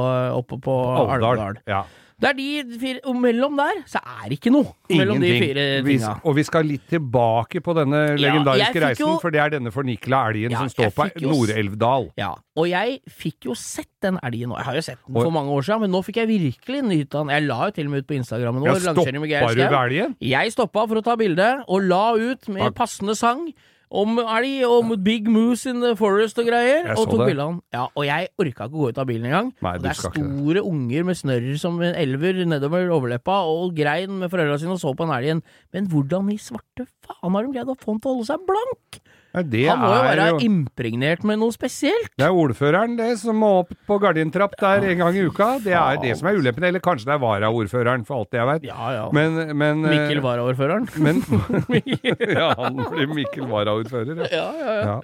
C: oppe på Alvdal.
B: Alvdal. Ja.
C: Det er de fire, og mellom der så er det ikke noe. Mellom de
B: Ingenting.
C: fire
B: Vi,
C: tinga.
B: og vi skal litt tilbake på denne legendariske
C: jeg fikk
B: reisen,
C: jo-
B: for det er denne fornikla elgen
C: Ja,
B: som står
C: jeg
B: på
C: fikk jo-
B: Nord-Elvdal.
C: Ja, og jeg fikk jo sett den elgen nå. Jeg har jo sett den
B: Og-
C: for mange år siden, men nå fikk jeg virkelig nyte den. Jeg la jo til og med ut på Instagrammen
B: Ja,
C: vår.
B: stoppa
C: langkjøring
B: du ved
C: med Geir Skau.
B: elgen?
C: Jeg stoppa for å ta bilde, og la ut med
B: Ja.
C: passende sang om elg og om Big Moose in the Forest og greier,
B: Jeg
C: og
B: så
C: tok
B: det.
C: bilde av den. Ja, og jeg orka ikke å gå ut av bilen engang.
B: Nei, du
C: Og det er
B: skal ikke det.
C: store unger med snørr som en elver nedover overleppa, og grein med foreldra sine og så på den elgen. Men hvordan i svarte faen har de greid å få den til å holde seg blank?
B: Ja, det
C: Han må jo
B: er
C: være
B: jo
C: impregnert med noe spesielt.
B: Det er ordføreren det som må opp på gardintrapp der en gang i uka. Det er det som er ulempen. Eller kanskje det er varaordføreren, for alt jeg veit.
C: Ja, ja.
B: Men, men eh,
C: Mikkel varaordføreren.
B: Men Ja, han blir Mikkel varaordfører, ja.
C: Ja, ja, ja.
B: ja.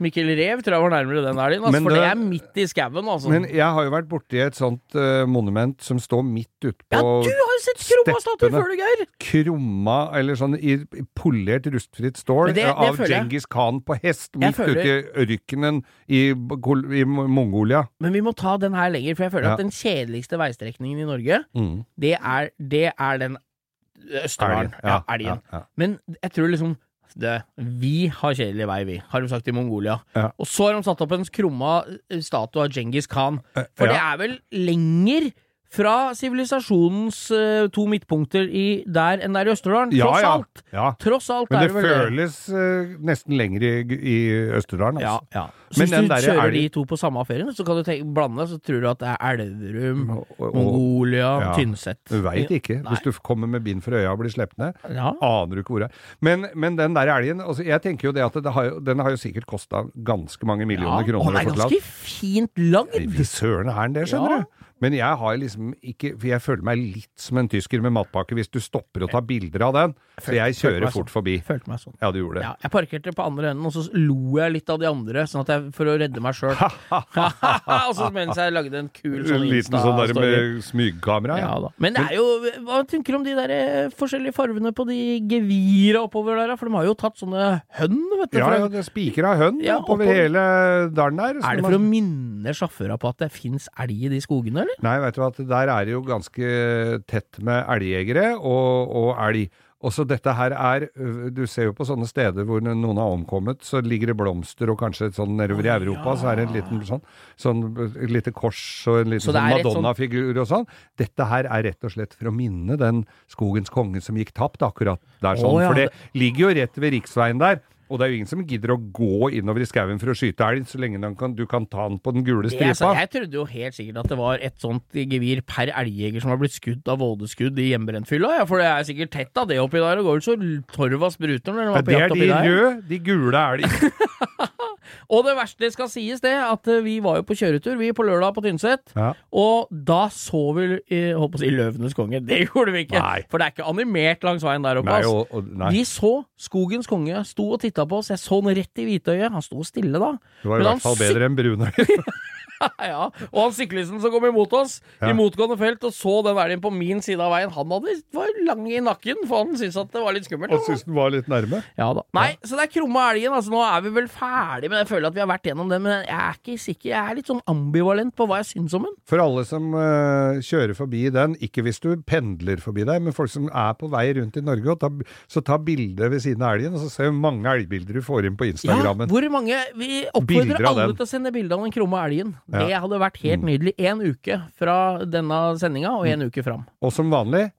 C: Mikkel Rev tror jeg var nærmere den elgen, altså,
B: Men
C: for
B: det-
C: det er midt i skauen. Altså.
B: Men jeg har jo vært borti et sånt eh, monument som står midt ute
C: ja,
B: på
C: du har jo sett krumma statuer
B: steppene.
C: før, du, Geir!
B: krumma, eller sånn i i polert rustfritt stål
C: Men det- det
B: av
C: føler jeg.
B: Djengis Khan på hest
C: Jeg
B: midt
C: føler-
B: ute i ørkenen i, Kol- i Mongolia.
C: Men vi må ta den her lenger, for jeg føler
B: Ja.
C: at den kjedeligste veistrekningen i Norge,
B: Mm.
C: det er, det er den Østerdalen.
B: Elgen,
C: Ja, elgen.
B: ja.
C: Men jeg tror liksom det, Vi har kjedelig vei, vi, har de sagt i Mongolia.
B: Ja.
C: Og så har de satt opp en krumma eh, statue av Djengis Khan.
B: Eh,
C: For det
B: ja.
C: er vel lenger fra sivilisasjonens eh, to midtpunkter i der enn der i Østerdalen,
B: Ja,
C: tross
B: ja.
C: alt.
B: Ja.
C: Tross alt
B: Men
C: er
B: det
C: vel
B: føles eh, nesten lenger i, i Østerdalen,
C: ja,
B: altså.
C: ja. Så
B: Men
C: hvis
B: den
C: du
B: der
C: kjører
B: elgen-
C: de to på samme ferien, så kan du tenke, blande, så tror du at det er Elverum,
B: Mm, Og- og-
C: Mongolia,
B: ja.
C: Tynset.
B: Du veit ikke. Hvis du kommer med bind for øya og blir sluppet ned,
C: Ja.
B: aner du ikke hvor det er. Men, men den der elgen altså, Jeg tenker jo det at det har, jo- den har jo sikkert kosta ganske mange millioner
C: ja.
B: kroner.
C: Og
B: å
C: den er
B: få til alt.
C: ganske fint lagd!
B: Fy søren er den det, skjønner
C: Ja.
B: du. Men jeg har liksom ikke For jeg føler meg litt som en tysker med matpakke hvis du stopper å ta bilder av den. Så jeg
C: følte meg
B: kjører fort forbi.
C: Følte meg sånn.
B: Ja, du gjorde det.
C: Ja, jeg parkerte på andre enden, og så lo jeg litt av de andre sånn at jeg, for å redde meg sjøl. og så mens jeg lagde en kul sånn
B: En liten sånn der
C: Insta-story.
B: med smygkamera.
C: Ja
B: Ja.
C: da. Men det er jo Hva tenker du om de der eh, forskjellige farvene på de gevira oppover der, da? For de har jo tatt sånne hønn, vet du.
B: Ja,
C: fra-
B: ja, det spiker av hønn
C: Ja,
B: oppover
C: oppover.
B: hele dalen der.
C: er det for å minne sjåføra på at det fins elg i de skogene, eller?
B: Nei, vet du hva, at der er det jo ganske tett med elgjegere og, og elg. Og så dette her er øh, Du ser jo på sånne steder hvor noen har omkommet, så ligger det blomster og kanskje et sånn nedover i Europa, så er det en liten sånn, sånn øh, et lite kors og en liten
C: Så det
B: sånn
C: er et sånn-
B: Madonna-figur og sånn. Dette her er rett og slett for å minne den skogens konge som gikk tapt akkurat der
C: Å,
B: sånn.
C: ja,
B: For det ligger jo rett ved riksveien der. Og det er jo ingen som gidder å gå innover i skauen for å skyte elg, så lenge den kan, du kan ta den på den gule
C: Det er sant.
B: stripa.
C: Altså, jeg trodde jo helt sikkert at det var et sånt gevir per elgjeger som har blitt skutt av vådeskudd i hjemmebrentfylla, ja, for det er sikkert tett av det oppi der, og går vel så torva spruter når de
B: Ja,
C: var på
B: det er
C: jakt
B: de
C: oppi der.
B: røde, de gule er de.
C: Og det verste skal sies det, at eh, vi var jo på kjøretur, vi på lørdag på Tynset.
B: Ja.
C: Og da så vi eh, holdt på å si Løvenes konge. Det gjorde vi ikke.
B: Nei.
C: For det er ikke animert langs veien der oppe.
B: Nei,
C: ass.
B: og, og, nei.
C: Altså, Vi så Skogens konge sto og titta på oss. Jeg så han rett i hvitøyet. Han sto stille da.
B: Det var i
C: Men han
B: hvert fall bedre enn brunøy.
C: ja, og han syklisten som kom imot oss i
B: Ja.
C: motgående felt og så den elgen på min side av veien, han hadde, var lang i nakken, for han syntes at det var litt skummelt.
B: Og syntes den var litt nærme.
C: Ja da. Nei, så det er krumma elgen. Altså, nå er vi vel ferdig med jeg føler at vi har vært gjennom det, men jeg er ikke sikker. Jeg er litt sånn ambivalent på hva jeg syns om den.
B: For alle som eh, kjører forbi den, ikke hvis du pendler forbi deg, men folk som er på vei rundt i Norge, og tar, så ta bilde ved siden av elgen, og så ser du mange elgbilder du får inn på Instagrammen.
C: hvor mange Vi
B: Bilder
C: oppfordrer
B: av
C: alle
B: den.
C: til å sende bilde av den krumme elgen.
B: Ja. Mm.
C: Det hadde vært helt nydelig. Én uke fra denne sendinga, og én uke fram.
B: Og som vanlig,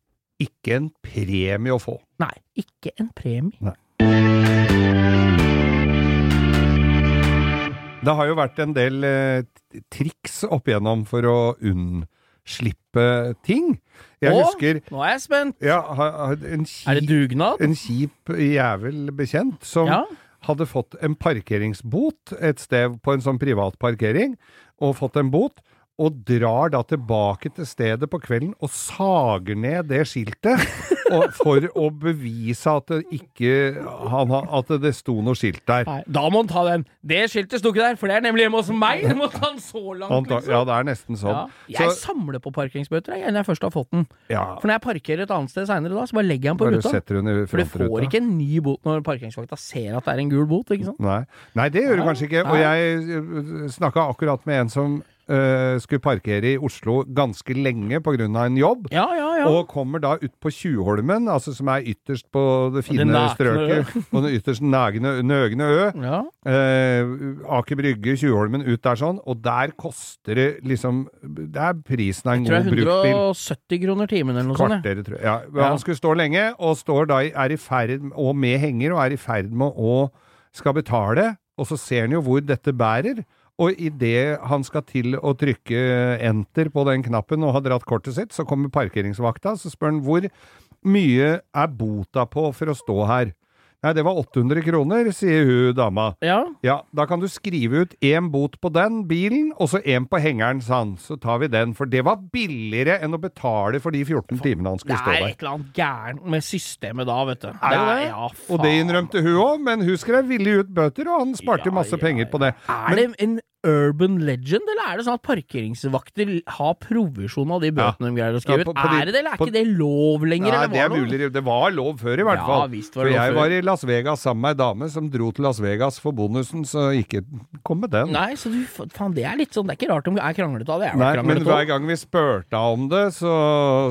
B: ikke en premie å få.
C: Nei, ikke en premie.
B: Det har jo vært en del eh, t- triks opp igjennom for å unnslippe ting. Jeg
C: Å?
B: husker
C: Nå er jeg spent!
B: ja, ha- ha- en,
C: Er det
B: kjip,
C: dugnad?
B: en kjip jævel bekjent som
C: Ja.
B: hadde fått en parkeringsbot et sted på en sånn privat parkering, og fått en bot, og drar da tilbake til stedet på kvelden og sager ned det skiltet og, for å bevise at det ikke han, ha- at det sto noe skilt der.
C: Nei, da må han ta den. Det skiltet sto ikke der, for det er nemlig hjemme hos meg! Du må ta den så
B: Han
C: langt,
B: tar-
C: liksom.
B: ja, det er nesten
C: Ja.
B: sånn.
C: Jeg samler på parkeringsbøter jeg, når jeg først har fått den.
B: ja,
C: For når jeg parkerer et annet sted seinere da, så bare legger jeg den på
B: Bare
C: ruta.
B: setter hun i
C: For du får
B: frontruta.
C: ikke en ny bot når parkeringsvakta ser at det er en gul bot, ikke sant?
B: Nei. Nei, det gjør du
C: Nei,
B: kanskje ikke. Og
C: nei.
B: jeg snakka akkurat med en som øh, skulle parkere i Oslo ganske lenge pga. en jobb.
C: Ja, ja, ja.
B: Og kommer da ut på Tjuvholmen, altså som er ytterst på det fine
C: nakne
B: strøket. Og den ytterst nagne, nøgne ø.
C: ja.
B: Eh, Aker Brygge, Tjuvholmen, ut der sånn. Og der koster det liksom Det er prisen av en
C: Tror
B: god
C: jeg
B: bruktbil.
C: 170 kroner timen eller noe sånt. ja.
B: Kvarteret, tror jeg. Ja. Han skulle stå lenge, og står da i, er i ferd, og med henger, og er i ferd med å skal betale, og så ser han jo hvor dette bærer. Og idet han skal til å trykke enter på den knappen og har dratt kortet sitt, så kommer parkeringsvakta, så spør han hvor mye er bota på for å stå her? Nei, det var 800 kroner, sier hun dama.
C: Ja.
B: Ja, da kan du skrive ut én bot på den bilen, og så én på hengeren, sa han. Så tar vi den, for det var billigere enn å betale for de 14 timene han
C: Det
B: skulle stå
C: er
B: der.
C: et eller annet gærent med systemet da, vet du.
B: Er jo
C: er-
B: det?
C: Ja, faen.
B: Og det innrømte hun òg, men hun skrev villig ut bøter, og han sparte
C: Ja,
B: masse
C: ja,
B: penger på det.
C: Er det en urban legend, eller er det sånn at parkeringsvakter har provisjon av de bøtene de greier å skrive
B: Ja, på-
C: ut?
B: på de-
C: Er det det, eller er
B: på-
C: ikke det lov lenger?
B: Nei,
C: eller
B: det
C: var
B: er mulig. Det var lov før, i hvert
C: Ja,
B: fall.
C: visst var
B: For
C: det lov
B: jeg
C: før.
B: var i Las Vegas sammen med ei dame som dro til Las Vegas for bonusen, så ikke kom med den.
C: Nei, så du, faen, det er litt sånn, det er ikke rart de er kranglete av det. Jeg har
B: Nei,
C: vært
B: men
C: kranglete
B: hver
C: også.
B: gang vi spurte om det, så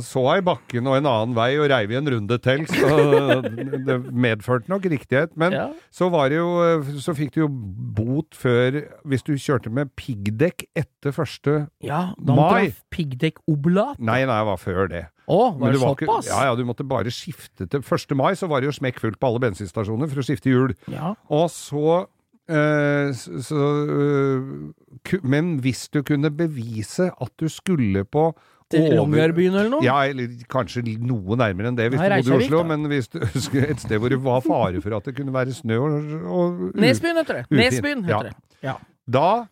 B: så jeg bakken og en annen vei og reiv i en runde til, så det medførte nok riktighet. Men
C: Ja.
B: så var det jo Så fikk du jo bot før hvis du kjørte med piggdekk etter første
C: Ja, da måtte
B: Mai.
C: du ha piggdekkoblat.
B: Nei, nei, det var før det.
C: Å,
B: Men
C: var det
B: var ikke-
C: såpass?
B: ja, ja, du måtte bare skifte til 1. mai, så var det jo smekkfullt på alle bensinstasjoner for å skifte hjul.
C: Ja.
B: Og så, eh, s- så eh, ku- Men hvis du kunne bevise at du skulle på
C: Til
B: over-
C: Longyearbyen eller noe?
B: Ja, eller kanskje noe nærmere enn det hvis
C: Nei,
B: du bodde i
C: Reykjavik,
B: Oslo,
C: da.
B: men hvis du skulle et sted hvor det var fare for at det kunne være snø og, og
C: Nesbyen heter det.
B: Ufint.
C: Nesbyen heter
B: Mm. Ja.
C: det. Ja.
B: Da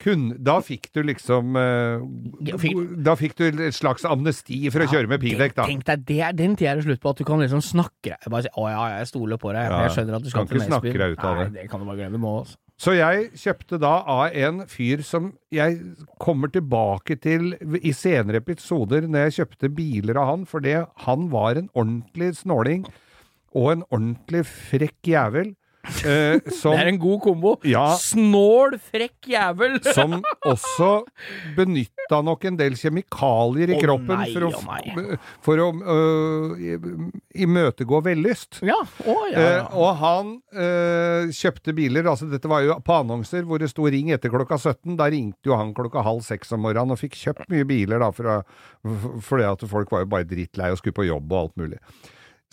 B: kun, da fikk du liksom eh,
C: Ja, fikk-
B: Da fikk du et slags amnesti for å kjøre med piggdekk, da.
C: Tenk deg, det er den tida det er slutt på, at du kan liksom snakke deg Bare si 'Å ja, ja, jeg stoler på deg',
B: Ja,
C: jeg skjønner at du skal
B: kan
C: til
B: ikke
C: Nesbyen.
B: snakke deg ut av det.
C: Nei, det kan du bare glemme nå, altså.
B: Så jeg kjøpte da av en fyr som jeg kommer tilbake til i senere episoder når jeg kjøpte biler av han, for det, han var en ordentlig snåling og en ordentlig frekk jævel. Eh, som,
C: Det er en god kombo.
B: Ja.
C: Snål, frekk jævel!
B: som også benytta nok en del kjemikalier i
C: Å
B: kroppen
C: nei,
B: for å,
C: å nei.
B: for å øh, imøtegå vellyst.
C: Ja, å ja. ja.
B: Eh, og han eh, kjøpte biler, altså dette var jo på annonser hvor det sto 'ring etter klokka 17'. Da ringte jo han klokka halv seks om morgenen og fikk kjøpt mye biler, da, for, å- fordi at folk var jo bare drittlei og skulle på jobb og alt mulig.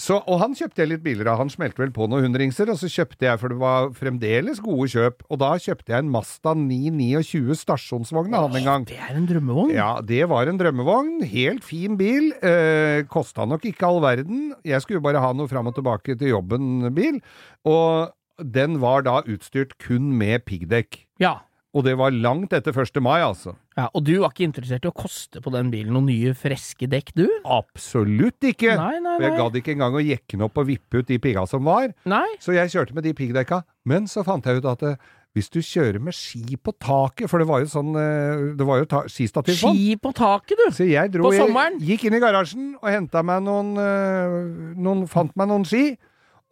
B: Så, og han kjøpte jeg litt biler av. Han smelte vel på noen hundringser, og så kjøpte jeg, for det var fremdeles gode kjøp, og da kjøpte jeg en Mazda 929 stasjonsvogn av han en gang.
C: Det er en drømmevogn.
B: Ja, det var en drømmevogn. Helt fin bil. Eh, Kosta nok ikke all verden. Jeg skulle bare ha noe fram og tilbake til jobben-bil. Og den var da utstyrt kun med piggdekk.
C: Ja.
B: Og det var langt etter 1. mai, altså.
C: ja. Og du var ikke interessert i å koste på den bilen noen nye, freske dekk, du?
B: Absolutt ikke!
C: Nei, nei,
B: For jeg
C: nei.
B: gadd ikke engang å jekke den opp og vippe ut de pigga som var.
C: Nei.
B: Så jeg kjørte med de piggdekka. Men så fant jeg ut at eh, hvis du kjører med ski på taket For det var jo sånn eh, Det var jo ta skistativ sånn. på den.
C: Ski på taket, du!
B: Så jeg dro
C: På
B: jeg-
C: sommeren?
B: Gikk inn i garasjen og henta meg noen, eh, øh, noen Fant meg noen ski.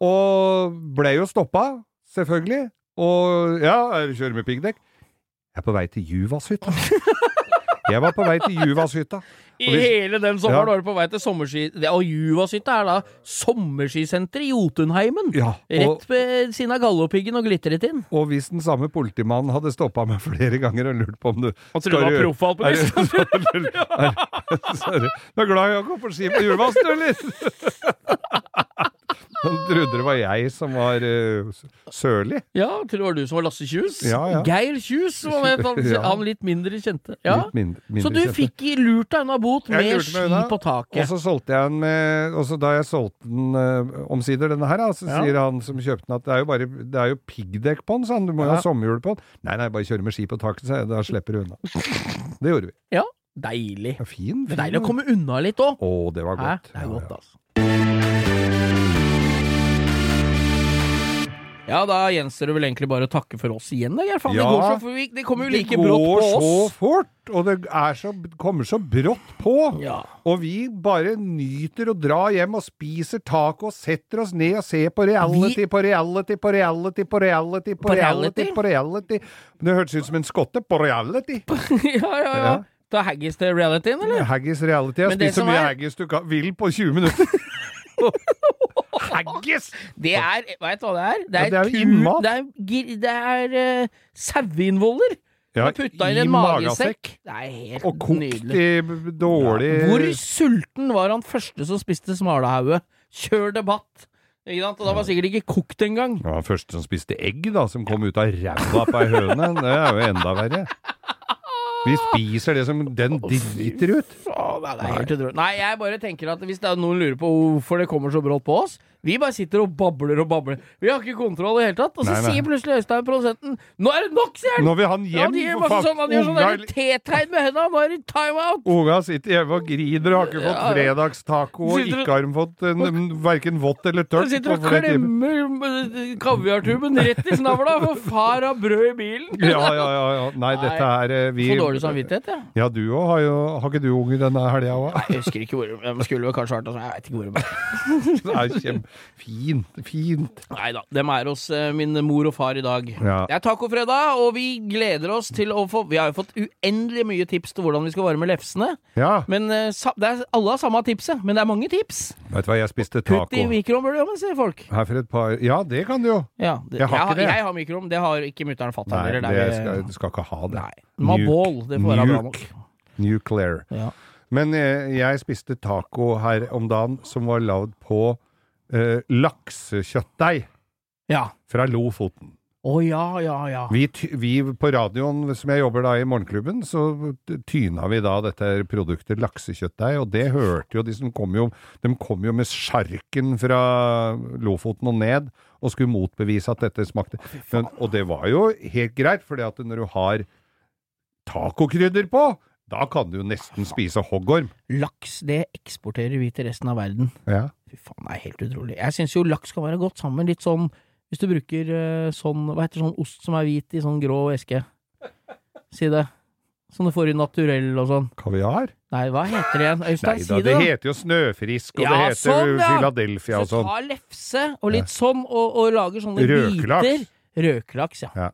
B: Og ble jo stoppa, selvfølgelig. Og ja, er du kjører med piggdekk? Jeg er på vei til Juvashytta. Jeg var på vei til Juvashytta.
C: I
B: Og hvis-
C: hele den sommeren
B: Ja.
C: var du på vei til sommerski... Det, og Juvashytta er da sommerskisenteret i Jotunheimen.
B: Ja, og,
C: Rett ved siden av Galdhøpiggen og Glitteretind.
B: og hvis den samme politimannen hadde stoppa meg flere ganger og lurt på om du
C: Han trodde du var proffalpinist.
B: Sorry. Du er glad i å gå på ski på Julvass, du, eller? Han trodde det var jeg som var eh, sørlig.
C: Ja, til det var du som var Lasse Kjus.
B: Ja, ja.
C: Geir Kjus var med, han,
B: Ja.
C: han litt mindre kjente. Ja.
B: Litt mind- mindre
C: Så du
B: kjente.
C: fikk i- lurt deg unna bot
B: Jeg
C: med
B: lurte meg
C: ski
B: unna.
C: på
B: Og
C: taket.
B: så solgte jeg den med Og så da jeg solgte den eh, omsider, denne her, da, så
C: Ja.
B: sier han som kjøpte den at det er jo bare Det er jo piggdekk på den, sa han. Du må jo ha
C: Ja.
B: sommerhjul på den. Nei, nei, bare kjøre med ski på taket, sa jeg. Da slipper du unna. Det gjorde vi.
C: Ja, deilig.
B: Ja, fin,
C: Det
B: fin.
C: er deilig å komme unna litt òg.
B: Å, det var
C: Hæ?
B: godt.
C: Det er
B: Ja,
C: godt,
B: ja.
C: altså. Ja, da gjenstår det vel egentlig bare å takke for oss igjen, da, Geir. Faen,
B: Ja.
C: det går så for vi, Det kommer jo
B: Det
C: like brått
B: går
C: på
B: så
C: oss.
B: fort, og det er så, kommer så brått på.
C: Ja.
B: Og vi bare nyter å dra hjem og spiser taco og setter oss ned og ser på reality,
C: Vi-
B: på reality, på reality, på reality, på
C: På
B: reality,
C: reality?
B: på reality. Det hørtes ut som en skotte på reality.
C: ja, ja, ja.
B: Ja.
C: Ta haggis til realityen, eller?
B: Haggis reality. Jeg
C: Men det
B: spiser så
C: som
B: mye
C: er-
B: haggis du kan, vil på 20 minutter. haggis!
C: Det er Veit du hva det er? Det
B: Ja,
C: er,
B: det er jo
C: ku-
B: innmat.
C: Det er, gir- det er eh, saueinnvoller.
B: Ja,
C: Man putter i en magesekk. Det er helt
B: Og kokt
C: nydelig.
B: i dårlig
C: Hvor sulten var han første som spiste smalahauge? Kjør debatt! Ikke sant? Og da var sikkert ikke kokt engang.
B: Det var første som spiste egg, da, som kom ut av ræva på ei høne. Det er jo enda verre. Vi spiser det som den driter ut.
C: Faen, nei, det er helt utrolig. Nei, jeg bare tenker at hvis det er noen lurer på hvorfor det kommer så brått på oss Vi bare sitter og babler og babler. Vi har ikke kontroll i det hele tatt. Og så
B: Nei, nei.
C: sier plutselig Øystein, produsenten, 'Nå er det nok', sier han!
B: Nå vil han
C: Ja,
B: hjem,
C: han gir
B: for
C: masse
B: faen.
C: sånn, han gjør sånn der
B: Unga-
C: T-tegn med henda. Nå er det timeout!
B: Unga sitter hjemme og griner og har ikke fått
C: Ja, ja.
B: fredagstaco, og
C: Sitter og-
B: ikke har de fått en, verken vått eller
C: Han
B: tørt.
C: sitter og
B: på flere timer.
C: klemmer eh, kaviartuben rett i snavla, for far har brød i bilen!
B: Ja, ja, ja, ja. Nei, dette er eh, vi
C: Så dårlig samvittighet, jeg.
B: Ja, du òg har jo Har ikke du unger denne helga òg?
C: Jeg husker ikke hvor de skulle vel kanskje vært altså, Jeg vet ikke hvor de er.
B: Det er kjempefint. Fint.
C: Nei da, dem er hos eh, min mor og far i dag.
B: Ja.
C: Det er tacofredag, og vi gleder oss til å få Vi har jo fått uendelig mye tips til hvordan vi skal varme lefsene.
B: Ja.
C: Men eh, sa, det er, Alle har samme tipset, men det er mange tips.
B: Vet du hva, jeg spiste
C: Putt i
B: taco
C: mikroovnen, sier folk.
B: her for et par Ja, det kan du jo.
C: Ja, det,
B: Jeg har ikke det.
C: Jeg har mikroovn, det har ikke mutter'n og fatter'n.
B: Nei,
C: eller
B: det
C: det er-
B: skal, du skal ikke ha det.
C: Nei. De har
B: Nuke.
C: bål, det får være bra nok.
B: Nuke. Nuclear.
C: Ja.
B: Men eh, jeg spiste taco her om dagen som var lagd på eh, laksekjøttdeig
C: Ja.
B: fra Lofoten.
C: Å ja, ja, ja.
B: Vi, ty vi på radioen som jeg jobber da i Morgenklubben, så t- tyna vi da dette produktet laksekjøttdeig, og det hørte jo de som kom jo De kom jo med sjarken fra Lofoten og ned og skulle motbevise at dette smakte Men, Og det var jo helt greit, for når du har tacokrydder på, da kan du jo nesten spise hoggorm.
C: Laks, det eksporterer vi til resten av verden.
B: Ja.
C: Fy faen, det er helt utrolig. Jeg syns jo laks skal være godt sammen. Litt sånn Hvis du bruker eh, sånn Hva heter sånn ost som er hvit i sånn grå eske? Si det. Som du får i naturell og sånn.
B: Kaviar?
C: Nei, hva heter det igjen?
B: Nei
C: Øystein,
B: da,
C: si
B: det
C: det, da.
B: heter jo snøfrisk, og
C: Ja,
B: det heter
C: sånn, ja.
B: Philadelphia og
C: Så
B: sånn.
C: ta lefse og litt sånn, og, og lager sånne
B: Røkelaks.
C: biter. Røkelaks. ja.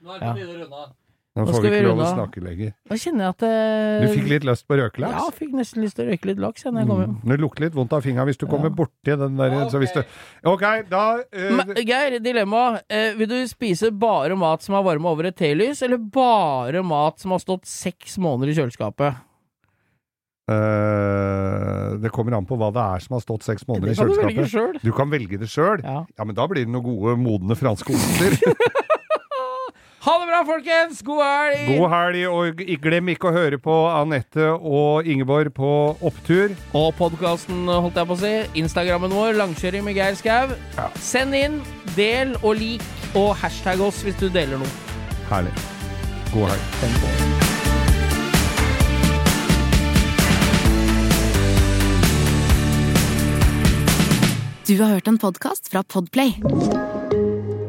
A: Nå er det på tide å runde av.
B: Nå
C: Nå
B: får
C: skal
B: vi ikke
C: vi
B: lov å
C: runde av.
B: snakke lenger.
C: Da kjenner jeg at eh,
B: Du fikk litt lyst på røkelaks?
C: Ja, fikk nesten lyst til å røyke litt laks jeg, når jeg kom hjem.
B: Mm. Det lukter litt vondt av fingra hvis du kommer borti den der
A: Ja,
B: så hvis du... Ok, da eh,
C: Men, Geir, dilemma. Eh, vil du spise bare mat som er varma over et telys, eller bare mat som har stått seks måneder i kjøleskapet?
B: eh, Det kommer an på hva det er som har stått seks måneder i kjøleskapet.
C: sjøl.
B: Du kan velge det sjøl.
C: Ja.
B: Ja, men da blir det noen gode, modne franske oster.
C: Ha det bra, folkens! God helg!
B: God helg, og ikke- glem ikke å høre på Anette og Ingeborg på opptur.
C: Og podkasten, holdt jeg på å si. Instagrammen vår, Langkjøring med Geir Skau. Send inn, del og lik, og hashtag oss hvis du deler noe.
B: Herlig. God helg.
C: Send på.
D: Du har hørt en podcast fra Podplay